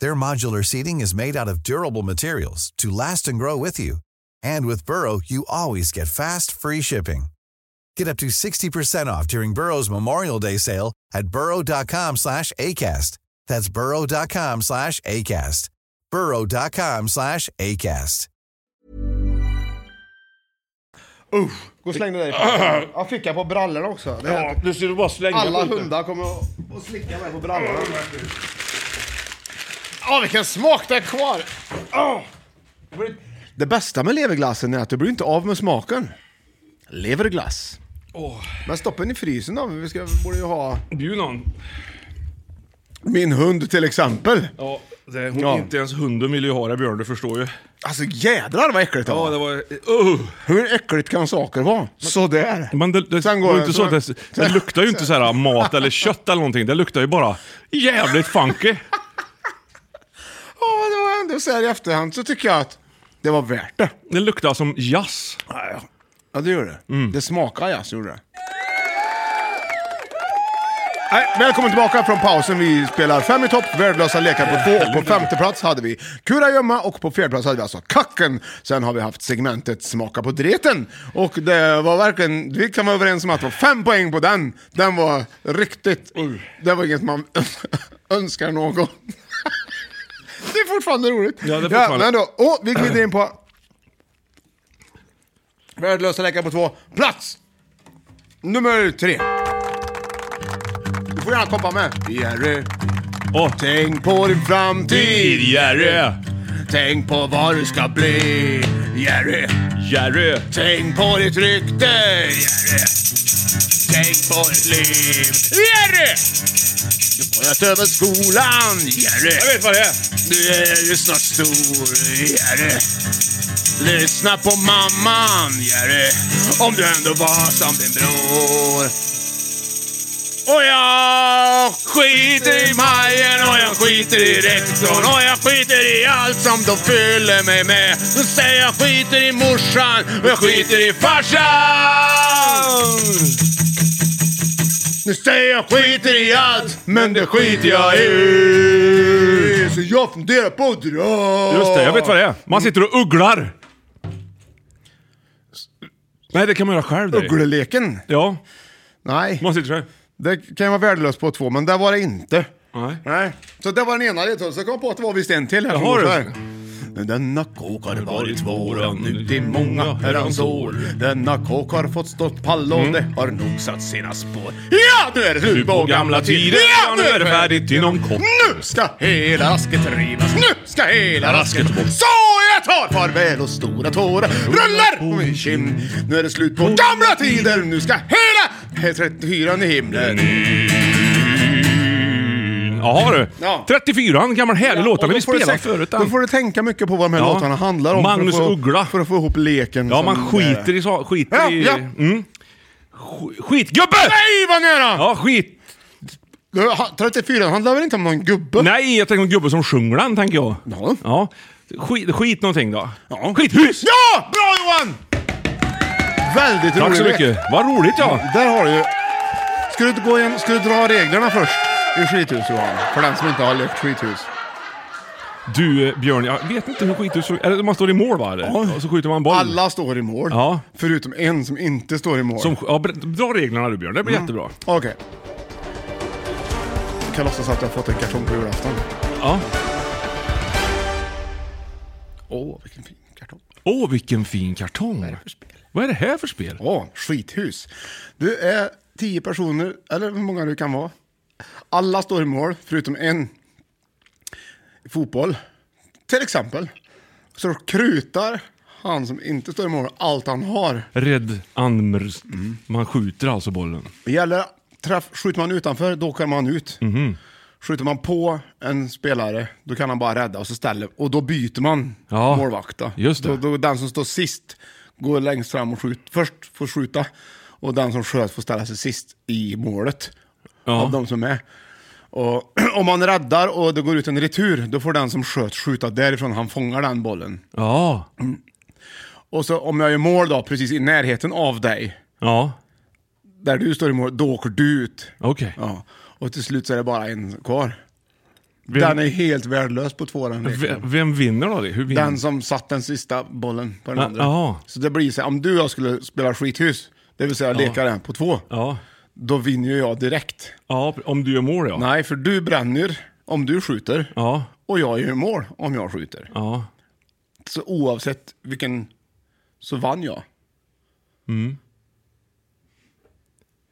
Their modular seating is made out of durable materials to last and grow with you. And with Burrow, you always get fast, free shipping. Get up to 60% off during Burrow's Memorial Day sale at burrow.com slash ACAST. That's burrow.com slash ACAST. burrow.com slash ACAST. Usch, gå och släng det där i påsen. Jag fick jag på brallorna också. Det här- du skulle bara slänga Alla hundar kommer att- att slicka mig på brallorna. Åh, vilken smak det är kvar! Åh. Det bästa med leverglassen är att du blir inte av med smaken. Leverglass. Men stoppa den i frysen då. Vi ska, borde ju ha... Bjud någon. Min hund till exempel. Ja, det, hon, Ja. Inte ens hunden vill ju ha det Björn, du förstår ju. Alltså jädrar vad äckligt det Ja, var. det var... Uh. Hur äckligt kan saker vara? Sådär. Men det, det, Sen sen går går det- inte så, att sen- det, det luktar ju inte så här mat eller kött eller någonting. Det luktar ju bara jävligt funky. Ja, det var ändå så här i efterhand så tycker jag att det var värt det. Det luktar som jazz. Ja, det gjorde det. Mm. Det smakade jazz, gjorde det. Nej, välkommen tillbaka från pausen. Vi spelar fem i topp, värdelösa lekar på två och på femte plats hade vi Kurragömma och på fjärde plats hade vi alltså Kacken. Sen har vi haft segmentet Smaka på dreten och det var verkligen, vi kan vara överens om att det var fem poäng på den. Den var riktigt, det var inget man önskar någon. det är fortfarande roligt. det är fortfarande- men då, och vi glider in på Värdelösa läkare på två, plats nummer tre. Du får gärna komma med. Jerry, Åh, tänk på din framtid. Jerry! Tänk på vad du ska bli. Jerry, Jerry! tänk på ditt rykte. Jerry, tänk på ditt liv. Jerry! Du bröt över skolan. Jerry. Jag vet vad det är! Du är ju snart stor, Jerry. Lyssna på mamman, Jerry. Om du ändå var som din bror. Och jag skiter i Majen och jag skiter i rektorn och jag skiter i allt som de fyller mig med. Nu säger jag skiter i morsan och jag skiter i farsan. Nu säger jag skiter i allt, men det skiter jag i. Så jag funderar på att dra. Just det, jag vet vad det är. Man sitter och ugglar. Nej, det kan man göra själv. det. Uggleleken? Ja, Nej, man sitter själv. det kan ju vara värdelöst på två, men där var det inte. Nej. Nej. Så det var den ena ledtråden, så kom jag på att det var visst en till här. som Jaha, går du. så här. Denna kåk har varit våran ut i många herrans år. Denna kåk har fått stått pall Mm. och det har nog satt sina spår. Ja, nu är det slut på gamla tider! Ja, nu är det färdigt inom kort. Nu ska hela rasket rivas, nu ska hela rasket bort. Så jag tar farväl och stora tårar rullar på min kind. Nu är det slut på gamla tider, nu ska hela 34 i himlen. Jaha du. Ja. 34, en gammal härlig låt. Den har vi spelat förut. Då den. får du tänka mycket på vad de här Ja. låtarna handlar om. Magnus för att få, Uggla. För att få ihop leken. Ja, som man skiter det- i... sa- Skiter Ja, i ja. Mm. Sk- Skitgubbe! Nej, vad nära! Ja, skit. Du, ha- 34 handlar väl inte om någon gubbe? Nej, jag tänker en gubbe som sjunger den, tänker jag. Ja. Ja. Skit, skit någonting då. Ja. Skithus! Ja! Bra Johan! Väldigt roligt. Tack så mycket. Vad roligt ja. Där har du ju... Ska du, inte gå igen, ska du dra reglerna först? I skithus Johan. För den som inte har lekt skithus. Du eh, Björn, jag vet inte hur skithus... Eller man står i mål va? Ja. Och så skjuter man boll. Alla står i mål. Ja. Förutom en som inte står i mål. Mm. Som, ja, ber- dra reglerna du Björn, det blir jättebra. Okej. Jag kan låtsas att jag har fått en kartong på julafton. Ja. Åh, vilken fin kartong. Åh, vilken fin kartong. Vad är det för spel? Vad är det här för spel? Ja, skithus. Du är tio personer, eller hur många du kan vara. Alla står i mål, förutom en. I fotboll, till exempel. Så krutar han som inte står i mål allt han har. Red Anmers. Mm. Man skjuter alltså bollen. Det gäller, träff, skjuter man utanför, då kommer han ut. Mhm. Skjuter man på en spelare, då kan han bara rädda och så ställer, och då byter man Ja, målvakt. då. just det. Då, då, den som står sist går längst fram och skjuter, först får skjuta, och den som sköt får ställa sig sist i målet Ja. av de som är. Och om man räddar och det går ut en retur, då får den som sköt skjuta därifrån han fångar den bollen. Ja. Mm. Och så om jag gör mål då, precis i närheten av dig, Ja. där du står i mål, då åker du ut. Okej. Ja, och till slut så är det bara en kvar. Den Vem, är helt värdelös på två den ve- leken. vem vinner då? Det? Hur vinner? Den som satt den sista bollen på den Ja, andra. jaha. Så det blir så här, om du och jag skulle spela skithus, det vill säga leka den på två, Ja. då vinner ju jag direkt. ja, om du gör mål ja. Nej, för du bränner om du skjuter Ja. och jag gör mål om jag skjuter. Ja. Så oavsett vilken så vann jag.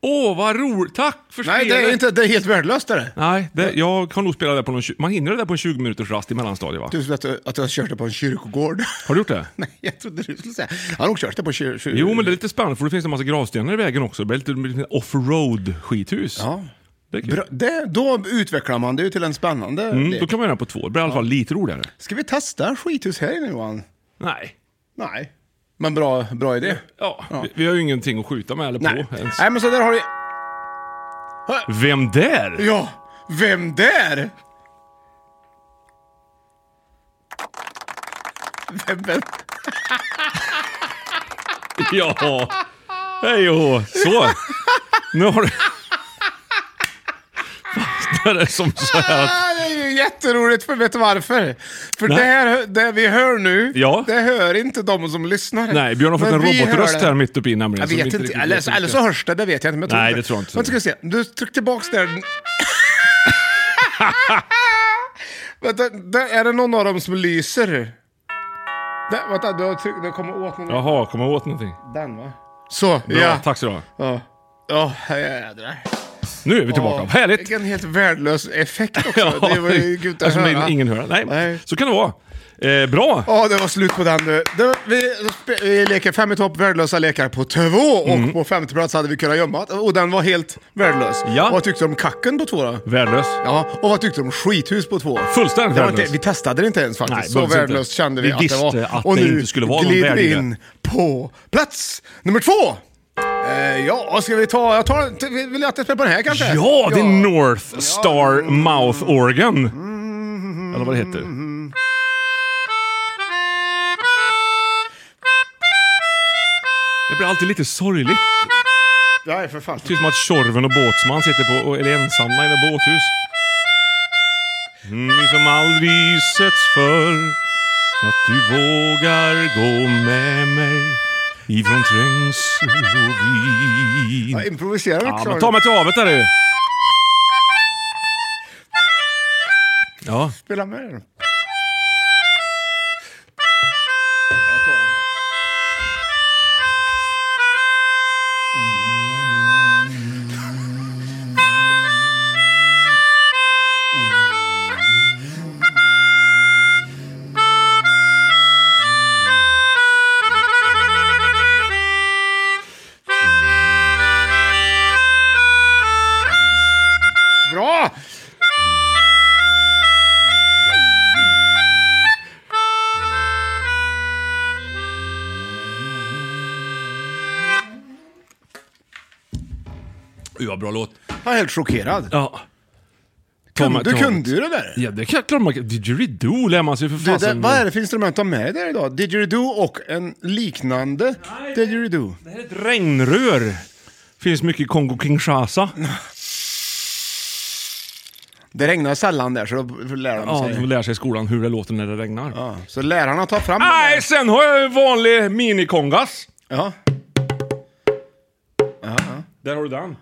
Åh, vad roligt! Tack för Nej, spelet! det är, inte, det är helt värdelöst. det Är det. Nej, det, jag kan nog spela det på någon... tju- Man hinner det där på en 20 minuters rast i mellanstadiet va? Du skulle att, du- att jag körde på en kyrkogård. Har du gjort det? Nej, jag trodde du skulle säga. Jag har nog kört det på kyr, kyr, Jo, men det är lite spännande för det finns en massa gravstenar i vägen också. Det blir lite, det blir lite offroad skithus. Ja. Det är kul. Bra, det, då utvecklar man det ju till en spännande Mm, lek. då kan man göra det på två. Det blir i alla fall lite roligare. Ska vi testa skithus här inne Johan? Nej. Nej. Men bra, bra idé. Ja, Vi, vi har ju ingenting att skjuta med eller Nej. på ens. Nej men så där har du... Vem där? Ja! Vem där? Vem, vem? Ja. Hej och så. Nu har du... Fastnade som så här att... Ah, det är ju jätteroligt, för vet du varför? För det, här, det vi hör nu, Ja. det hör inte de som lyssnar. Nej, Björn har fått Men en vi hör robotröst det. här mitt uppe i nämligen. Jag som vet inte, riktigt eller, vet så- vilken- eller så hörs det, det vet jag inte. Men jag tror Nej, det tror jag inte. Men ska vi se, du tryck tillbaks där. vänta, där, är det någon av dem som lyser? Där, vänta, du har tryckt, du kommer åt någon. Jaha, kommer jag åt någonting? Den va? Så, Bra, ja. tack så du ha. Ja, ja jädrar. Nu är vi tillbaka. Ja, Härligt! Vilken helt värdelös effekt också. det var ju gud att Eftersom det är höra. Ingen hör. Nej, Nej. så kan det vara. Eh, bra! Ja, det var slut på den nu. Det, vi, vi leker fem i topp, värdelösa lekar på två och Mm. på femte plats hade vi kunnat gömma och den var helt värdelös. Ja. Och vad tyckte du om kacken på två då? Värdelös. Ja, och vad tyckte du om skithus på två? Fullständigt Det var värdelös. Inte, vi testade det inte ens faktiskt. Nej, så behövdes inte. värdelöst kände vi, Vi att det var. visste att och det nu inte skulle vara någon glider vi värde. in på plats nummer två. Eh, ja, ska vi ta, jag tar, t- vill jag att jag spelar på den här kanske? Ja, det är North Star Mouth Organ. Eller vad det heter. Det blir alltid lite sorgligt. Ja, för fan. Det är som att Tjorven och Båtsman sitter på, och är ensamma i ett båthus. Mm, vi som aldrig setts förr. Att du vågar gå med mig ifrån trängsel och vin. Jag improviserar Ja, också. men ta mig till havet där du. Ja. Spela med den. Bra! Uy, vad bra låt. Jag är helt chockerad. Ja. Kunde- du kunde ju det där. Ja, det kan klart man kan. Didgeridoo lär man sig för Du, det, fasen. vad är det för instrument de har med där idag? Didgeridoo och en liknande didgeridoo. Det här är ett regnrör. Finns mycket i Kongo-Kinshasa. Det regnar sällan där, så då lär de Ja, sig. de lär sig i skolan hur det låter när det regnar. Ja, så lärarna tar fram den Nej, där. sen har jag en vanlig minikongas. Ja. Där har du den.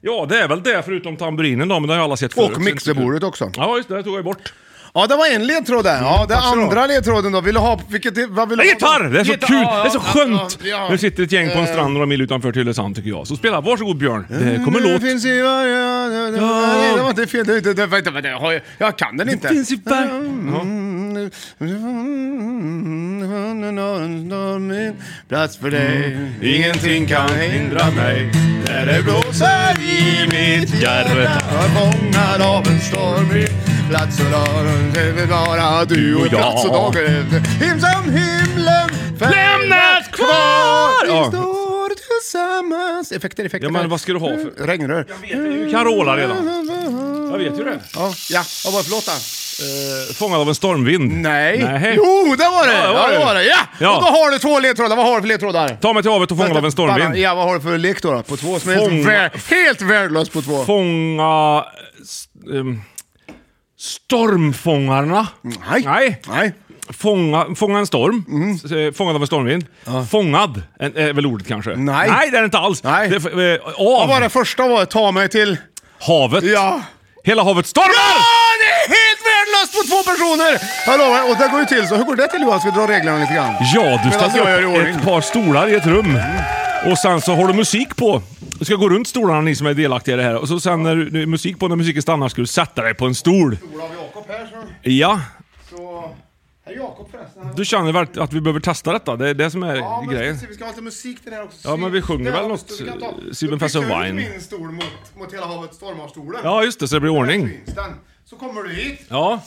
Ja, det är väl det förutom tamburinen då, men det har ju alla sett förut. Och mixerbordet också. Ja, just det. Det tog jag bort. Ja, det var en ledtråd där. Ja, den tack så andra ledtråden då. Vill du ha... Vilket, vad vill Det du är ha? gitarr! Det är så Gitarr, kul! ja, Det är så ja, skönt! ja, ja. Nu sitter ett gäng på en Eh. strand några mil utanför Tylösand tycker jag. Så spela, varsågod Björn. Det kommer Nu låt. finns i varje... det- det- Ja. Nej, det var inte fel. Det, det, det, vänta, vänta, jag, har ju- jag kan den inte. finns i varje- Mm. Plats för dig. Ingenting kan hindra mig. När det blåser i mitt hjärta. Fångad av en storm. Plats och dag. Det vill vara du och Ja. jag. Plats och dag. Him som himlen Lämnas kvar! Vi Ja. står tillsammans. Effekter, effekter. Ja, men vad ska du ha för- Regnrör. Jag vet ju Carola redan. Jag vet ju det. Ja, ja. ja vad förlåt då? Eh, Fångad av en stormvind. Nej. Nej. Jo, det var det! Ja, Ja, det det var var det. det. Ja. Ja. Och då har du två ledtrådar. Vad har du för ledtrådar? Ta mig till havet och fångad av en stormvind. Ja, vad har du för lek då? då? På två som är Fånga- helt, vär- helt värdelös på två. Fånga... s- ehm, stormfångarna. Nej. Nej. Nej. Mm. Fånga, fånga en storm. S- eh, Fångad av en stormvind. Fångad en- är väl ordet kanske? Nej. Nej, det är det inte alls. Nej. Det är, f- eh, Vad av var det första var? Ta mig till... havet. Ja. Hela havet stormar! Ja, det är helt värdelöst på två personer! Jag lovar, och det går ju till så. Hur går det till Johan? Ska vi dra reglerna lite grann? Ja, du Medan ställer jag gör i upp ordning. Mm. ett par stolar i ett rum. Och sen så har du musik på. Du ska gå runt stolarna ni som är delaktiga i det här. Och så sen när du- när musik på, när musiken stannar ska du sätta dig på en stol. Olav Jakob här så... Ja. så... Här är Jakob förresten. Du känner väl att vi behöver testa detta? Det är det som är Ja, men grejen. ska vi se, vi ska ha lite musik till det här också. Ja, men vi sjunger Det här väl också, något, vi kan ta- eh, Sieben Då Fast of byter jag ut Wine. min stol mot, mot Hela havet stormar-stolen. Ja, just det. Så det blir ordning. Finns den. Så kommer du hit. Ja.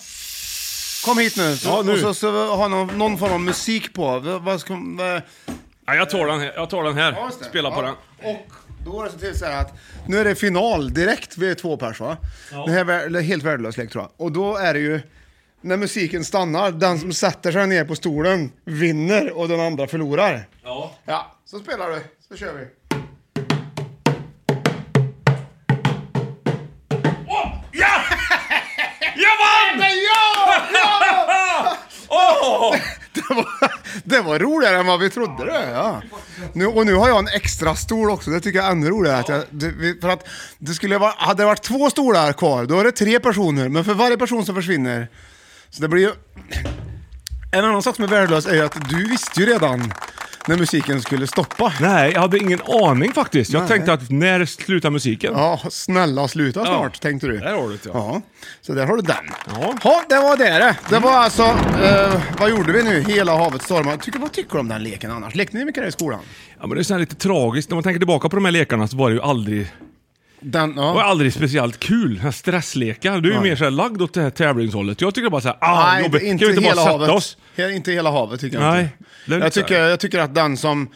Kom hit nu. Ja, nu. Och så, så har någon, någon form av musik på. V- Vad ska... vad- ja jag tar den här. Jag tar den ja, här. just det. Spela Ja. på den. Och då är det så till så här att nu är det final direkt. Vi är två pers va? Det här är vär- eller helt värdelös lek tror jag. Och då är det ju... När musiken stannar, den som sätter sig ner på stolen vinner och den andra förlorar. Ja. Ja, så spelar du. Så kör vi. Ja! Jag vann! Åh! Det var, det var roligare än vad vi trodde det. Ja. Nu, och nu har jag en extra stol också, det tycker jag är ännu roligare. Att jag, det, vi- för att det skulle vara, hade det varit två stolar kvar, då är det tre personer. Men för varje person som försvinner, så det blir ju... En annan sak som är värdelös är ju att du visste ju redan när musiken skulle stoppa. Nej, jag hade ingen aning faktiskt. Jag tänkte att när slutar musiken? Ja, snälla sluta snart, Ja. tänkte du. Där har du det, ja. ja. Så där har du den. Ja. ja det var det det. Det var alltså, eh, vad gjorde vi nu? Hela havet stormar. Tycker, vad tycker du om den leken annars? Lekte ni mycket där i skolan? Ja, men det är så här lite tragiskt. När man tänker tillbaka på de här lekarna så var det ju aldrig, Den, det var ja. aldrig speciellt kul. Den här stresslekar. Du är ju mer så här lagd åt det här tävlingshållet. Jag tycker bara så här, ah, Nej, jobbigt. inte, Kan inte, vi inte bara hela sätta havet. oss? He- inte hela havet tycker jag Nej, det inte. är lite Jag så här. tycker, jag tycker att den som,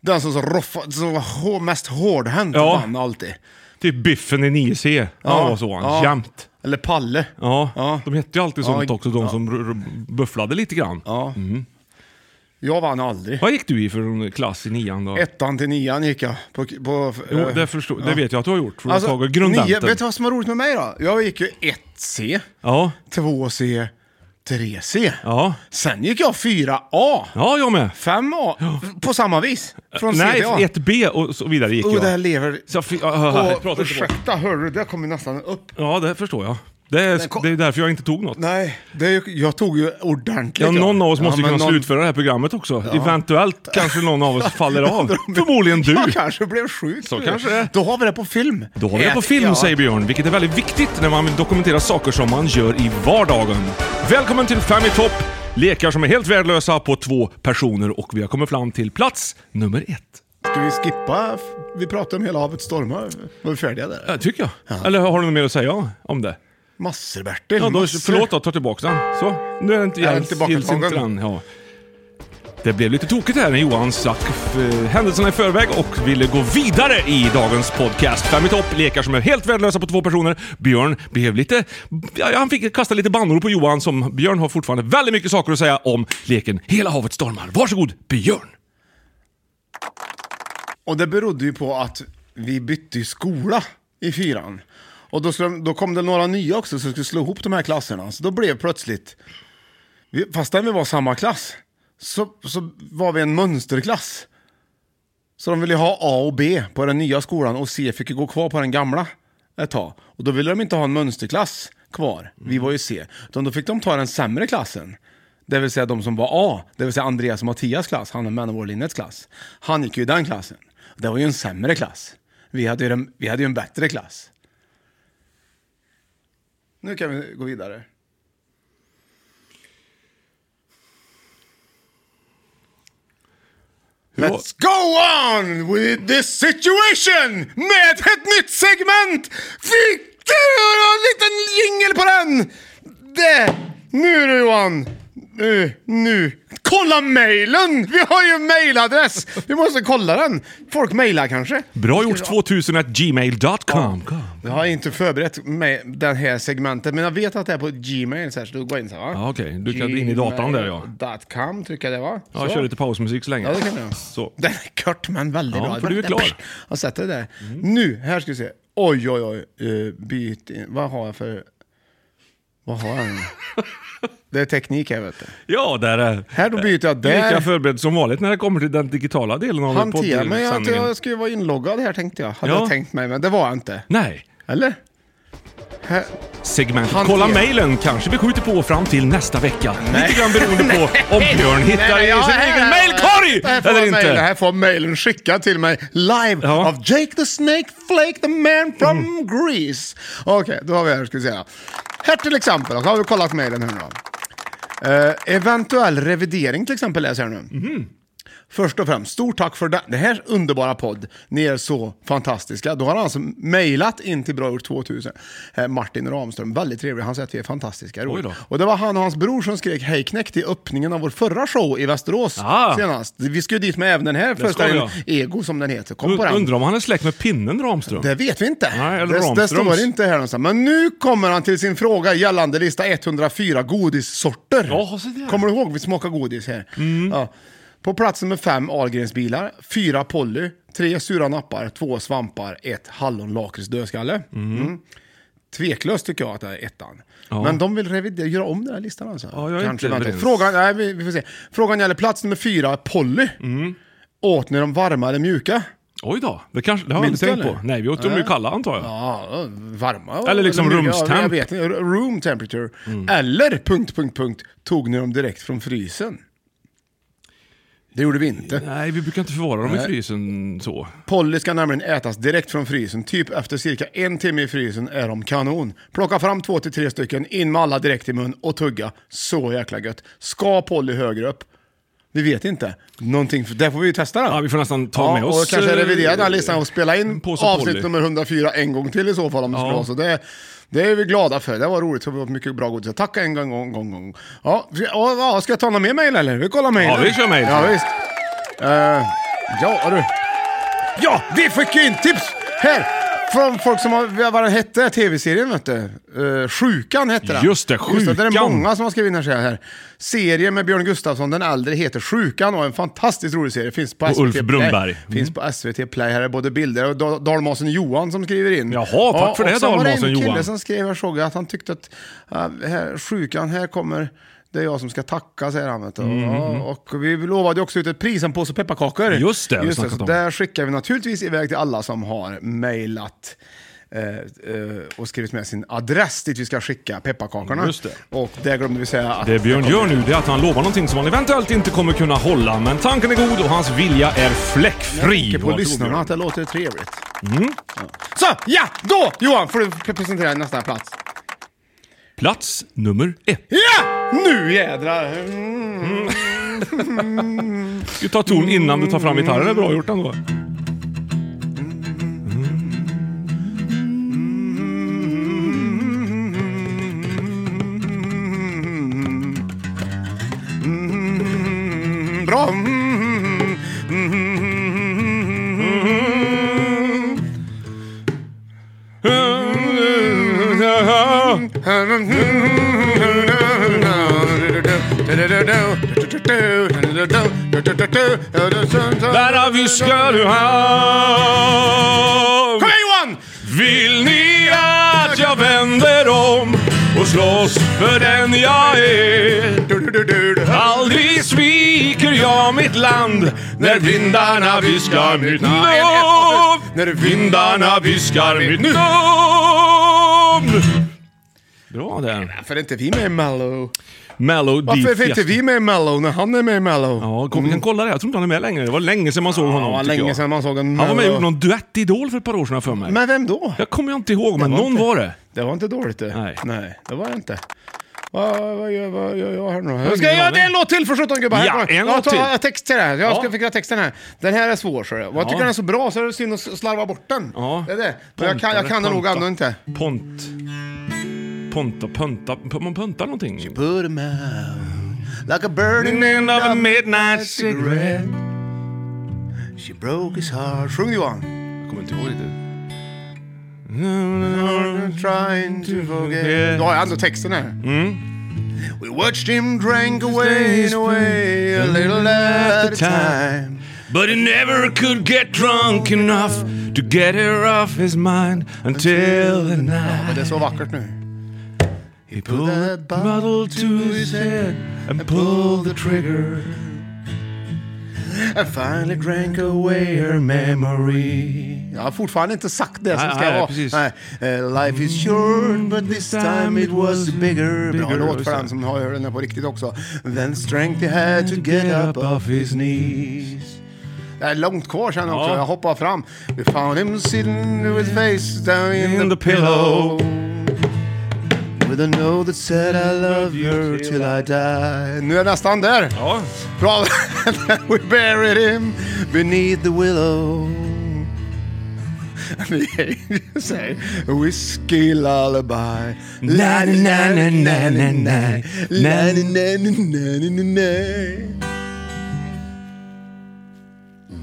den som så roffa, som var hå, mest hårdhänt Ja. vann alltid. Typ Biffen i 9C. Ja, han var så han. ja. Jämt. Eller Palle. Ja. Ja. de hette ju alltid Ja, sånt också, de ja. som r- r- bufflade lite grann. Ja. Mm. Jag vann aldrig. Vad gick du i för en klass i nian då? Ettan till nian gick jag. På, på, Jo, eh, det, förstår, det vet jag att du har gjort, för du har tagit Alltså, nio, grundenten. vet du vad som var roligt med mig då? Jag gick ju 1C, Ja, 2C, 3C. ja. Sen gick jag 4A, Ja, jag med. 5A, på samma vis. Från C Nej, till A. 1B och så vidare gick Oh, jag. det här lever... Så jag fick, ah, ah, ah, jag Åh, pratar inte på. ursäkta, hör du? Det kom ju nästan upp. Ja, det förstår jag. Det är, kom- det är därför jag inte tog något. Nej, det är ju, jag tog ju ordentligt. Ja, någon av oss måste ju men kunna någon- slutföra det här programmet också. Eventuellt kanske någon av oss faller av. Förmodligen du. Jag kanske blev sjuk. Så kanske det är. Då har vi det på film. Då har vi det på Ja. film, säger Björn, vilket är väldigt viktigt när man vill dokumentera saker som man gör i vardagen. Välkommen till Fem i topp! Lekar som är helt värdelösa på två personer och vi har kommit fram till plats nummer ett. Ska vi skippa? f- Vi pratade om hela havet stormar. Var vi färdiga där? Ja, tycker jag. Eller har du något mer att säga om det? Massor-Bertil. Ja, då, massor. förlåt då, ta tillbaka den. Så, nu är den inte Är den gills- tillbaka gills inte tagen? den, ja. Det blev lite tokigt här när Johan stack eh, händelserna i förväg och ville gå vidare i dagens podcast. Fem i topp, lekar som är helt värdelösa på två personer. Björn blev lite... Ja, han fick kasta lite bannor på Johan som Björn har fortfarande väldigt mycket saker att säga om leken Hela havet stormar. Varsågod Björn! Och det berodde ju på att vi bytte ju skola i fyran. Och då, skulle, då kom det några nya också som skulle slå ihop de här klasserna. Så då blev plötsligt, vi- fastän vi var samma klass, så, så var vi en mönsterklass. Så de ville ha A och B på den nya skolan och C fick ju gå kvar på den gamla ett tag. Och då ville de inte ha en mönsterklass kvar, vi var ju C. Utan då fick de ta den sämre klassen. Det vill säga de som var A, det vill säga Andreas och Mattias klass, han är Manowar-linjets klass. Han gick ju i den klassen. Det var ju en sämre klass. Vi hade ju, den, vi hade ju en bättre klass. Nu kan vi gå vidare. Let's go on with this situation med ett nytt segment! Fick du en liten jingel på den? Det! Nu du Johan! Nu, nu. Kolla mejlen! Vi har ju mejladress! Vi måste kolla den. Folk mejlar kanske. Bra gjort 2000 at gmail.com. Jag har inte förberett mig det här segmentet, men jag vet att det är på Gmail, så här, så du går in så här va? Ja, okej. Du kan in i datan där, ja. .com trycker jag det va? Ja, Så. kör lite pausmusik så länge. Ja, det kan jag. Så. Den är kort men väldigt Ja, bra. för du är klar. Mm. Jag sätter det där. Nu, här ska vi se. Oj, oj, oj. Eh, byt in. Vad har jag för... Vad har jag nu? Det är teknik här vet du. Ja, där är... Här då byter jag där. Lika förberedd som vanligt när det kommer till den digitala delen av Hantera mig. Jag, poddsändningen. jag ska ju vara inloggad här tänkte jag. Hade Ja. jag tänkt mig, men det var jag inte. Nej. Eller? Här. Segment. Hantera. Kolla mejlen kanske vi skjuter på fram till nästa vecka. Lite grann beroende på om Björn hittar i ja, sin här- egen Här mejlkorg får eller jag mailen. inte. Här får jag mailen skickad till mig live Ja. av Jake the Snake Flake the man from Greece. Okej, då har vi här ska vi säga. Här till exempel, har vi kollat mailen här nu då. Eh, eventuell revidering till exempel läser jag nu. Först och främst, stort tack för den det här underbara podd. Ni är så fantastiska. Då har han alltså mejlat in till Bra gjort 2000. Eh, Martin Ramström, väldigt trevlig. Han säger att vi är fantastiska. roligt. då. Och det var han och hans bror som skrek hej knäckt i öppningen av vår förra show i Västerås Ah. senast. Vi skulle dit med även den här föreställningen, ska Ego som den heter. Kom på Und- den. Undrar om han är släkt med pinnen Ramström? Det vet vi inte. Nej, eller det, det Ramströms. står inte här någonstans. Men nu kommer han till sin fråga gällande lista 104 godissorter. Ja, så där. Mm. kommer du ihåg? Vi smakar godis här. Ja. På plats nummer fem Ahlgrens bilar, fyra Polly, tre sura nappar, två svampar, ett hallon lakrits dödskalle. Mm. Tveklöst tycker jag att det är ettan. Men de vill revidera, göra om den här listan alltså. Ja, jag är inte man överens. Frågan, nej, vi, vi får se. Frågan gäller plats nummer fyra, Polly. Mm. Åt ni de varma eller mjuka? Oj då, det, kanske, det har jag Minns inte tänkt du, på. eller? Nej, vi åt dem ju kalla antar jag. Ja, varma. och- Eller liksom mycket- rumstemp. Mm. ja, Jag vet inte, room temperature. Eller, punkt, punkt, punkt, tog ni dem direkt från frysen? Det gjorde vi inte. Nej, vi brukar inte förvara dem i frysen så. Polly ska nämligen ätas direkt från frysen. Typ efter cirka en timme i frysen är de kanon. Plocka fram två till tre stycken, in med alla direkt i mun och tugga. Så jäkla gött. Ska Polly högre upp? Vi vet inte. Någonting, för, där får vi ju testa den. Ja, vi får nästan ta med och oss... kanske eh, revidera den här listan och spela in Påse avsnitt Polly. nummer 104 en gång till i så fall om det skulle vara så. Det, det är vi glada för. Det var roligt. Det var mycket bra godis. Tack en gång, gång, gång. gång. Ja, vi- ja, ja, ska jag ta någon mer mejl eller? Vi kollar mejlen. Ja, vi kör mejl. Ja, visst. Eh, ja, du. Ja, vi fick ju in tips här! Från folk som har, vad den hette, tv-serien vet du? Eh, sjukan hette den. Just det, det, det är Sjukan. många som har skrivit in här, så här. Serien med Björn Gustafsson, den äldre, heter Sjukan och är en fantastiskt rolig serie. Finns på SVT Ulf Mm. Brunnberg. Play. Finns på SVT Play. Här är både bilder och Da- Dalmasen Johan som skriver in. Jaha, tack för och det, sen var Dalmasen en kille Johan. som skrev, jag såg att han tyckte att ah, här, Sjukan, här kommer det är jag som ska tacka, säger han. Vet du. Mm, Ja, och vi lovade ju också ut ett pris, en påse pepparkakor. Just det, vi Just det snackat så om. där skickar vi naturligtvis iväg till alla som har mejlat eh, eh, och skrivit med sin adress dit vi ska skicka pepparkakorna. Just det. Och det glömde vi säga att... Det Björn gör nu det är att han lovar någonting som han eventuellt inte kommer kunna hålla, men tanken är god och hans vilja är fläckfri. Tänker på Varsågod, lyssnarna Björn. att det låter trevligt. Ja. Så, ja! Då Johan får du pre- presentera nästa plats. Plats nummer ett. Ja! Nu jädrar! Mm. Ska ta ton innan du tar fram gitarren, det är bra gjort ändå. Mm, Där vi ska du ha. Kom igen Johan! Vill ni att jag vänder om och slåss för den jag är? Aldrig sviker jag mitt land när vindarna viskar mitt namn. När vindarna viskar mitt namn. Bra där. Varför är inte vi med i Mello? Mellow Deep Varför är inte Fiesta. vi med i Mello när han är med i Mello? Ja, kom, vi kan kolla det. Jag tror inte han är med längre. Det var länge sedan man såg honom. Mm. var tycker länge jag. sedan man såg en Han var med och Mello. gjorde någon duett i Idol för ett par år sedan för mig. Men vem då? Jag kommer jag inte ihåg, men var någon inte- var det. Det var inte dåligt det. Nej. det var det inte. Vad vad gör vad gör jag här nu? Jag ska ingen göra aning. en låt till för 17 gubbar. Ja, Här kommer- jag en låt tar- till. Jag text till det här. Jag ska Ja. fixa texten här. Den här är svår så det. Och jag tycker Ja. den är så bra så det är synd att slarva bort den. Ja. Det är det. Men jag kan, jag kan den nog Ponta. ändå inte. Pont. Ponta, punta, p- man puntar någonting. Put 'em out like a burning end of a midnight cigarette She broke his heart. Sjung Johan. Jag kommer inte ihåg riktigt. Trying to forget. Oh, Då har jag ändå texten här. We watched him drink away and away a little at a time. But he never could get drunk enough to get her off his mind until the Men night det är så vackert nu. he pulled that bottle to his head and pulled the trigger. And finally drank away her memory. Jag har fortfarande inte sagt det som Nej, ska nej, vara. precis. Eh, life is short but this time it was bigger. Bra Bigger, låt just för det. den som har hört den här på riktigt också. Then strength he had to get up off his knees. Det är långt kvar sen också, Ja. jag hoppar fram. We found him sitting with face down in, In the the pillow. pillow. With a note that said I love you till I die. Nu är jag nästan där. Ja, Bra. We buried him beneath the willow. Say whiskey lullaby. La na na na na na na. La na na na na na na. Mm.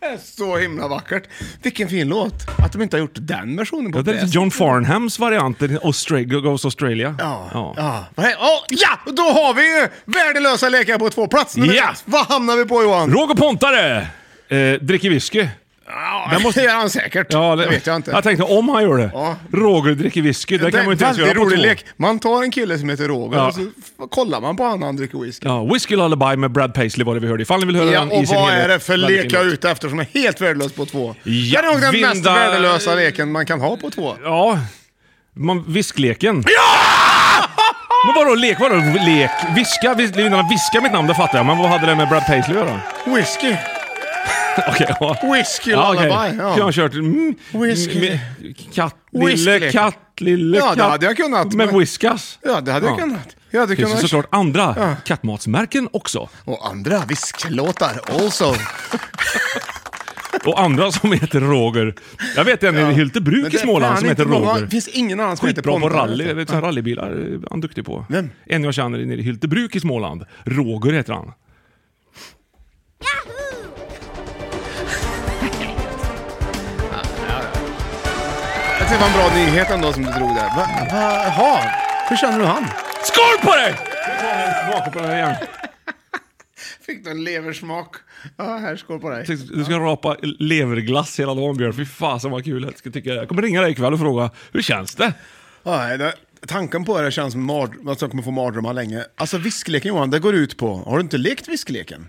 Det är Så himla vackert. Vilken fin låt. Att de inte har gjort den versionen på det är fler lite John Farnhams variant, den Austra- Goes Australia. Ja. Ja. Vad är- Åh, ja, då har vi ju värdelösa lekar på två plats. Nu är det Ja. dags. Vad hamnar vi på Johan? Roger Pontare eh, dricker whisky. Ja, Den måste- det gör han säkert. Ja, det vet jag inte. Jag tänkte om han gör det. Ja. Roger dricker whisky, det, det kan man ju inte är ens en göra väldigt på rolig två. lek. Man tar en kille som heter Roger Ja. och så f- kollar man på honom när han dricker whisky. Ja, Whiskey Lullaby med Brad Paisley var det vi hörde. Ifall ni vill höra Ja, den i och sin vad helhet. är det för Väldigt lek jag är fin låt. ute efter som är helt värdelös på två? Ja, det är nog den vinda- mest värdelösa leken man kan ha på två. Ja, man, viskleken. Ja! Men vadå lek? Vadå lek? Viska? Vis, Lindarna viska mitt namn, det fattar jag. Men vad hade det med Brad Paisley att göra? Whisky. Okej, ja. Whisky okej. Lullaby, ja. Jag har kört... Mm, Whisky. mm, Katt, lille Whisky. katt, lille Ja, katt. det hade jag kunnat, Med men- whiskas. Ja, det hade jag kunnat. Jag hade Det finns ju kunnat- såklart andra Ja. kattmatsmärken också. Och andra whisklåtar also. Och andra som heter Roger. Jag vet en i Men Hyltebruk det i är Småland fan som heter inte många- Roger. Det finns ingen annan som heter Skitbra på Pontus. rally, vet, så här rallybilar är han duktig på. Vem? En jag känner nere i Hyltebruk i Småland. Roger heter han. Jag tyckte det var en bra nyhet ändå som du drog där. Va, va, jaha, hur känner du han? Skål på dig! Tillbaka på den här igen. Fick du en leversmak? Ja, här, skål på dig. Tänkte, Du ska rapa leverglass hela dagen Björn. Fy fasen vad kul jag ska tycka. Jag kommer ringa dig ikväll och fråga hur känns det? Ja, det, tanken på det känns som mard- att jag kommer få mardrömmar länge. Alltså viskleken Johan, det går ut på, har du inte lekt viskleken?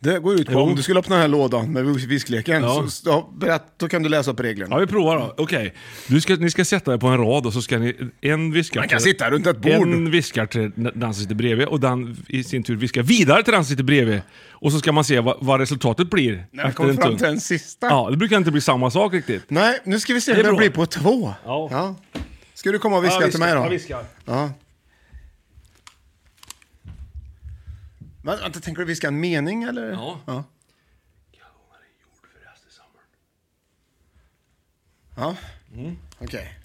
Det går ut på, Jo. om du skulle öppna den här lådan med viskleken, Ja. så, så, ja, berätt, då kan du läsa upp reglerna. Ja vi provar då. Okej. Du ska, ni ska sätta er på en rad och så ska ni en viska... Man kan sitta runt ett bord. En viskar till den som sitter bredvid och den i sin tur viskar vidare till den som sitter bredvid. Och så ska man se vad, vad resultatet blir. När vi kommer fram till den sista. Ja, det brukar inte bli samma sak riktigt. Nej, nu ska vi se är hur det bra. blir på två. Ja. Ska du komma och viska Ja, till mig då? Ja, viskar. Ja. Men, vänta, tänker du viska en mening eller? Ja. ja. Ja, okej.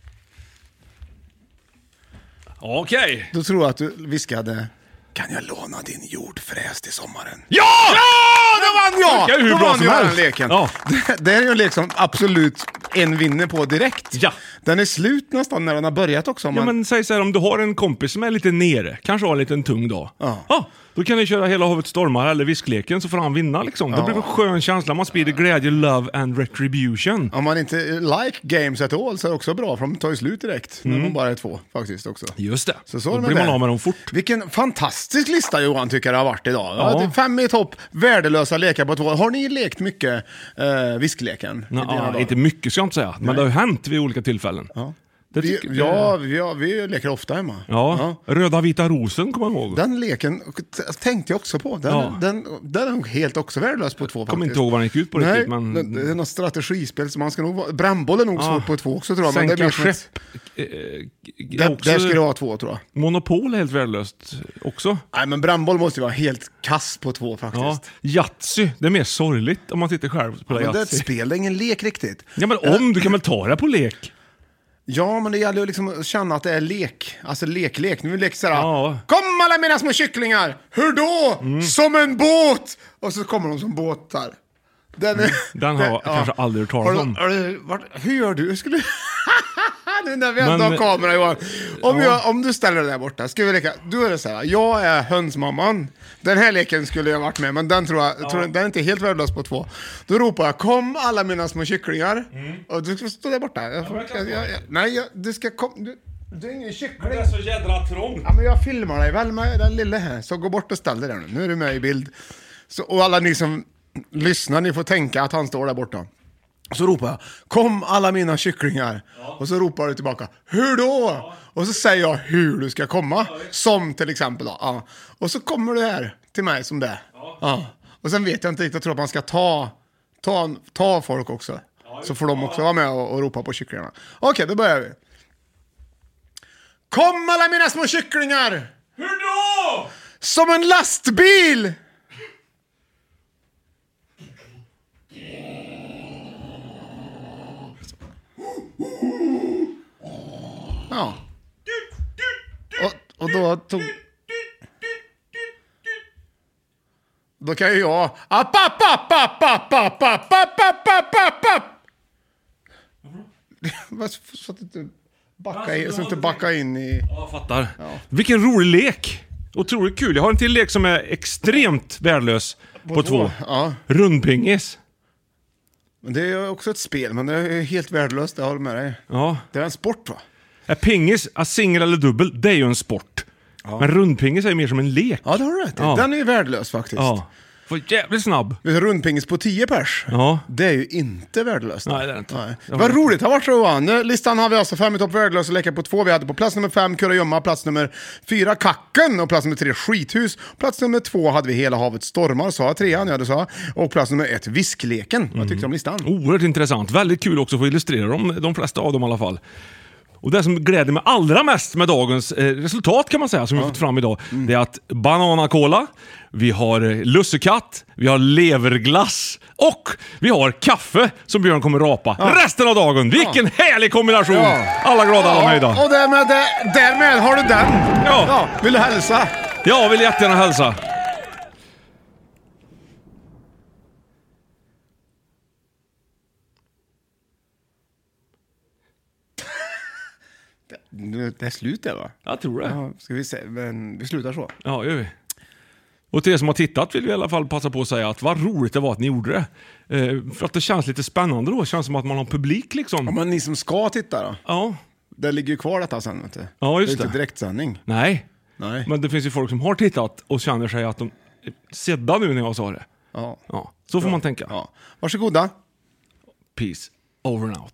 Okej. Då tror jag att du viskade Kan jag låna din jordfräs till sommaren? Ja! Ja, då vann jag! Funkar ju hur Då bra vann som jag den helst. leken. Ja. Det, det är ju en lek som liksom absolut en vinner på direkt. Ja. Den är slut nästan när den har börjat också. om Ja, man- men säg så här, om du har en kompis som är lite nere, kanske har en liten tung dag. Ja. då kan ni köra Hela havet stormar eller Viskleken så får han vinna liksom. Det blir en skön känsla, man sprider glädje, love and retribution. Om man inte like games at all så är det också bra, för de tar ju slut direkt när man bara är två faktiskt också. Just det. Så så är Mm. då det blir med man det. av med dem fort. Vilken fantastisk lista Johan tycker det har varit idag. Ja. Ja. det är Fem i topp, värdelösa lekar på två. Har ni lekt mycket eh, viskleken? i Nå, dina dagar? inte mycket ska jag inte säga, men det har ju hänt vid olika tillfällen. Ja, det vi, tycker ja, jag. vi, ja, vi leker ofta hemma. Ja. Röda vita rosen kommer jag ihåg. Den leken t- tänkte jag också på. Den, Ja. den, den är nog helt också värdelös på två. kommer inte ihåg vad den gick ut på Nej, riktigt, men- det- Det är något strategispel, så man ska nog vara... Brännboll är nog svårt på två också tror jag. men det är Sänka mer som ett- skepp. eh, eh, Där, också- där skulle det vara två tror jag. Monopol är helt värdelöst också. Nej, men brännboll måste ju vara helt kass på två faktiskt. Ja. Yatzy, det är mer sorgligt om man sitter själv och spelar Men det är ett Yatzy. spel, det är ingen lek riktigt. Ja men om, du kan väl ta det på lek? Ja, men det gäller ju liksom att känna att det är lek. Alltså leklek. Nu leker såhär, Ja. Mm. kom alla mina små kycklingar! Hur då? Som en båt! Och så kommer de som båtar. Den, är, Mm. Den har jag kanske aldrig hört talas Har du- om. har du- vart- Hur gör du? Skulle... nu när vi ändå Men- har kamera Johan. Om, Ja. jag, om du ställer dig där borta, ska vi leka? Då är det såhär, jag är hönsmamman. Den här leken skulle jag varit med, men den tror jag, tror, jag- den är inte helt värdelös på två. Då ropar jag, kom alla mina små kycklingar. Och du ska stå där borta. Jag, får- Mm. jag kan jag, stå jag, här. nej, jag, du ska komma. Du, du är ingen kyckling. så jädra trångt. Ja, men jag filmar dig väl med den lille här, så gå bort och ställ dig där nu. Nu är du med i bild. Så, och alla ni som lyssnar, ni får tänka att han står där borta. Så ropar jag, kom alla mina kycklingar. Och så ropar du tillbaka, hur då? Och så säger jag hur du ska komma. Som till exempel då. Ja. Och så kommer du här till mig som det. Ja. Och sen vet jag inte riktigt, jag tror att man ska ta, ta, ta folk också. så får de också vara med och, och ropa på kycklingarna. Okej, då börjar vi. Kom alla mina små kycklingar! Hur då? Som en lastbil! Ja. Och, och då tog... Då kan ju jag... App, app, app, app, app, app, app, app, app, app, app, app. Vad- Så att du inte backar in, så att du inte backar in i... Ja, jag fattar. Vilken rolig lek! Otroligt kul. Jag har en till lek som är extremt värdelös på, två. två, ja. Rundpingis. Men det är ju också ett spel, men det är ju helt värdelöst, jag håller med dig. Ja. Det är en sport va? Är pingis, ja, singel eller dubbel, det är ju en sport. Men rundpingis är ju mer som en lek. Ja, det har du rätt i. Ja. Den är ju värdelös faktiskt. Ja. Var jävligt snabb. Vet du, Rundpingis på 10 pers, Ja. det är ju inte värdelöst. Nej, det är det inte. Jag Vad vet. roligt det har varit Johan. Nu, Listan har vi alltså fem i topp värdelösa lekar på två. Vi hade på plats nummer fem Kurragömma, plats nummer fyra Kacken och plats nummer tre Skithus. Plats nummer två hade vi Hela havet stormar, sa jag trean, ja det sa jag. Och plats nummer ett Viskleken. Vad tyckte du om listan? Oerhört intressant. Väldigt kul också att få illustrera dem, de flesta av dem i alla fall. Och det som gläder mig allra mest med dagens eh, resultat kan man säga, som vi fått fram idag, det är att Bananacola, vi har eh, lussekatt, vi har leverglass och vi har kaffe som Björn kommer rapa resten av dagen. Vilken härlig kombination! Ja. Alla glada, Oh, alla nöjda. Och därmed, där- därmed har du den! Ja. Vill du hälsa? Jag vill jättegärna hälsa. Nu, det är slut det va? Jag tror det. Ja, ska vi se, men vi slutar så. Ja, gör vi. Och till er som har tittat vill vi i alla fall passa på att säga att vad roligt det var att ni gjorde det. Eh, för att det känns lite spännande då. Det känns som att man har publik Ja, liksom. men ni som ska titta då? Ja. Det ligger ju kvar detta sen vet du. Ja, just det. är det. inte direktsändning. Nej. Nej. Men det finns ju folk som har tittat och känner sig att de är sedda nu när jag sa det. Ja. Ja, så får man tänka. ja. Varsågoda. Peace. Over and out.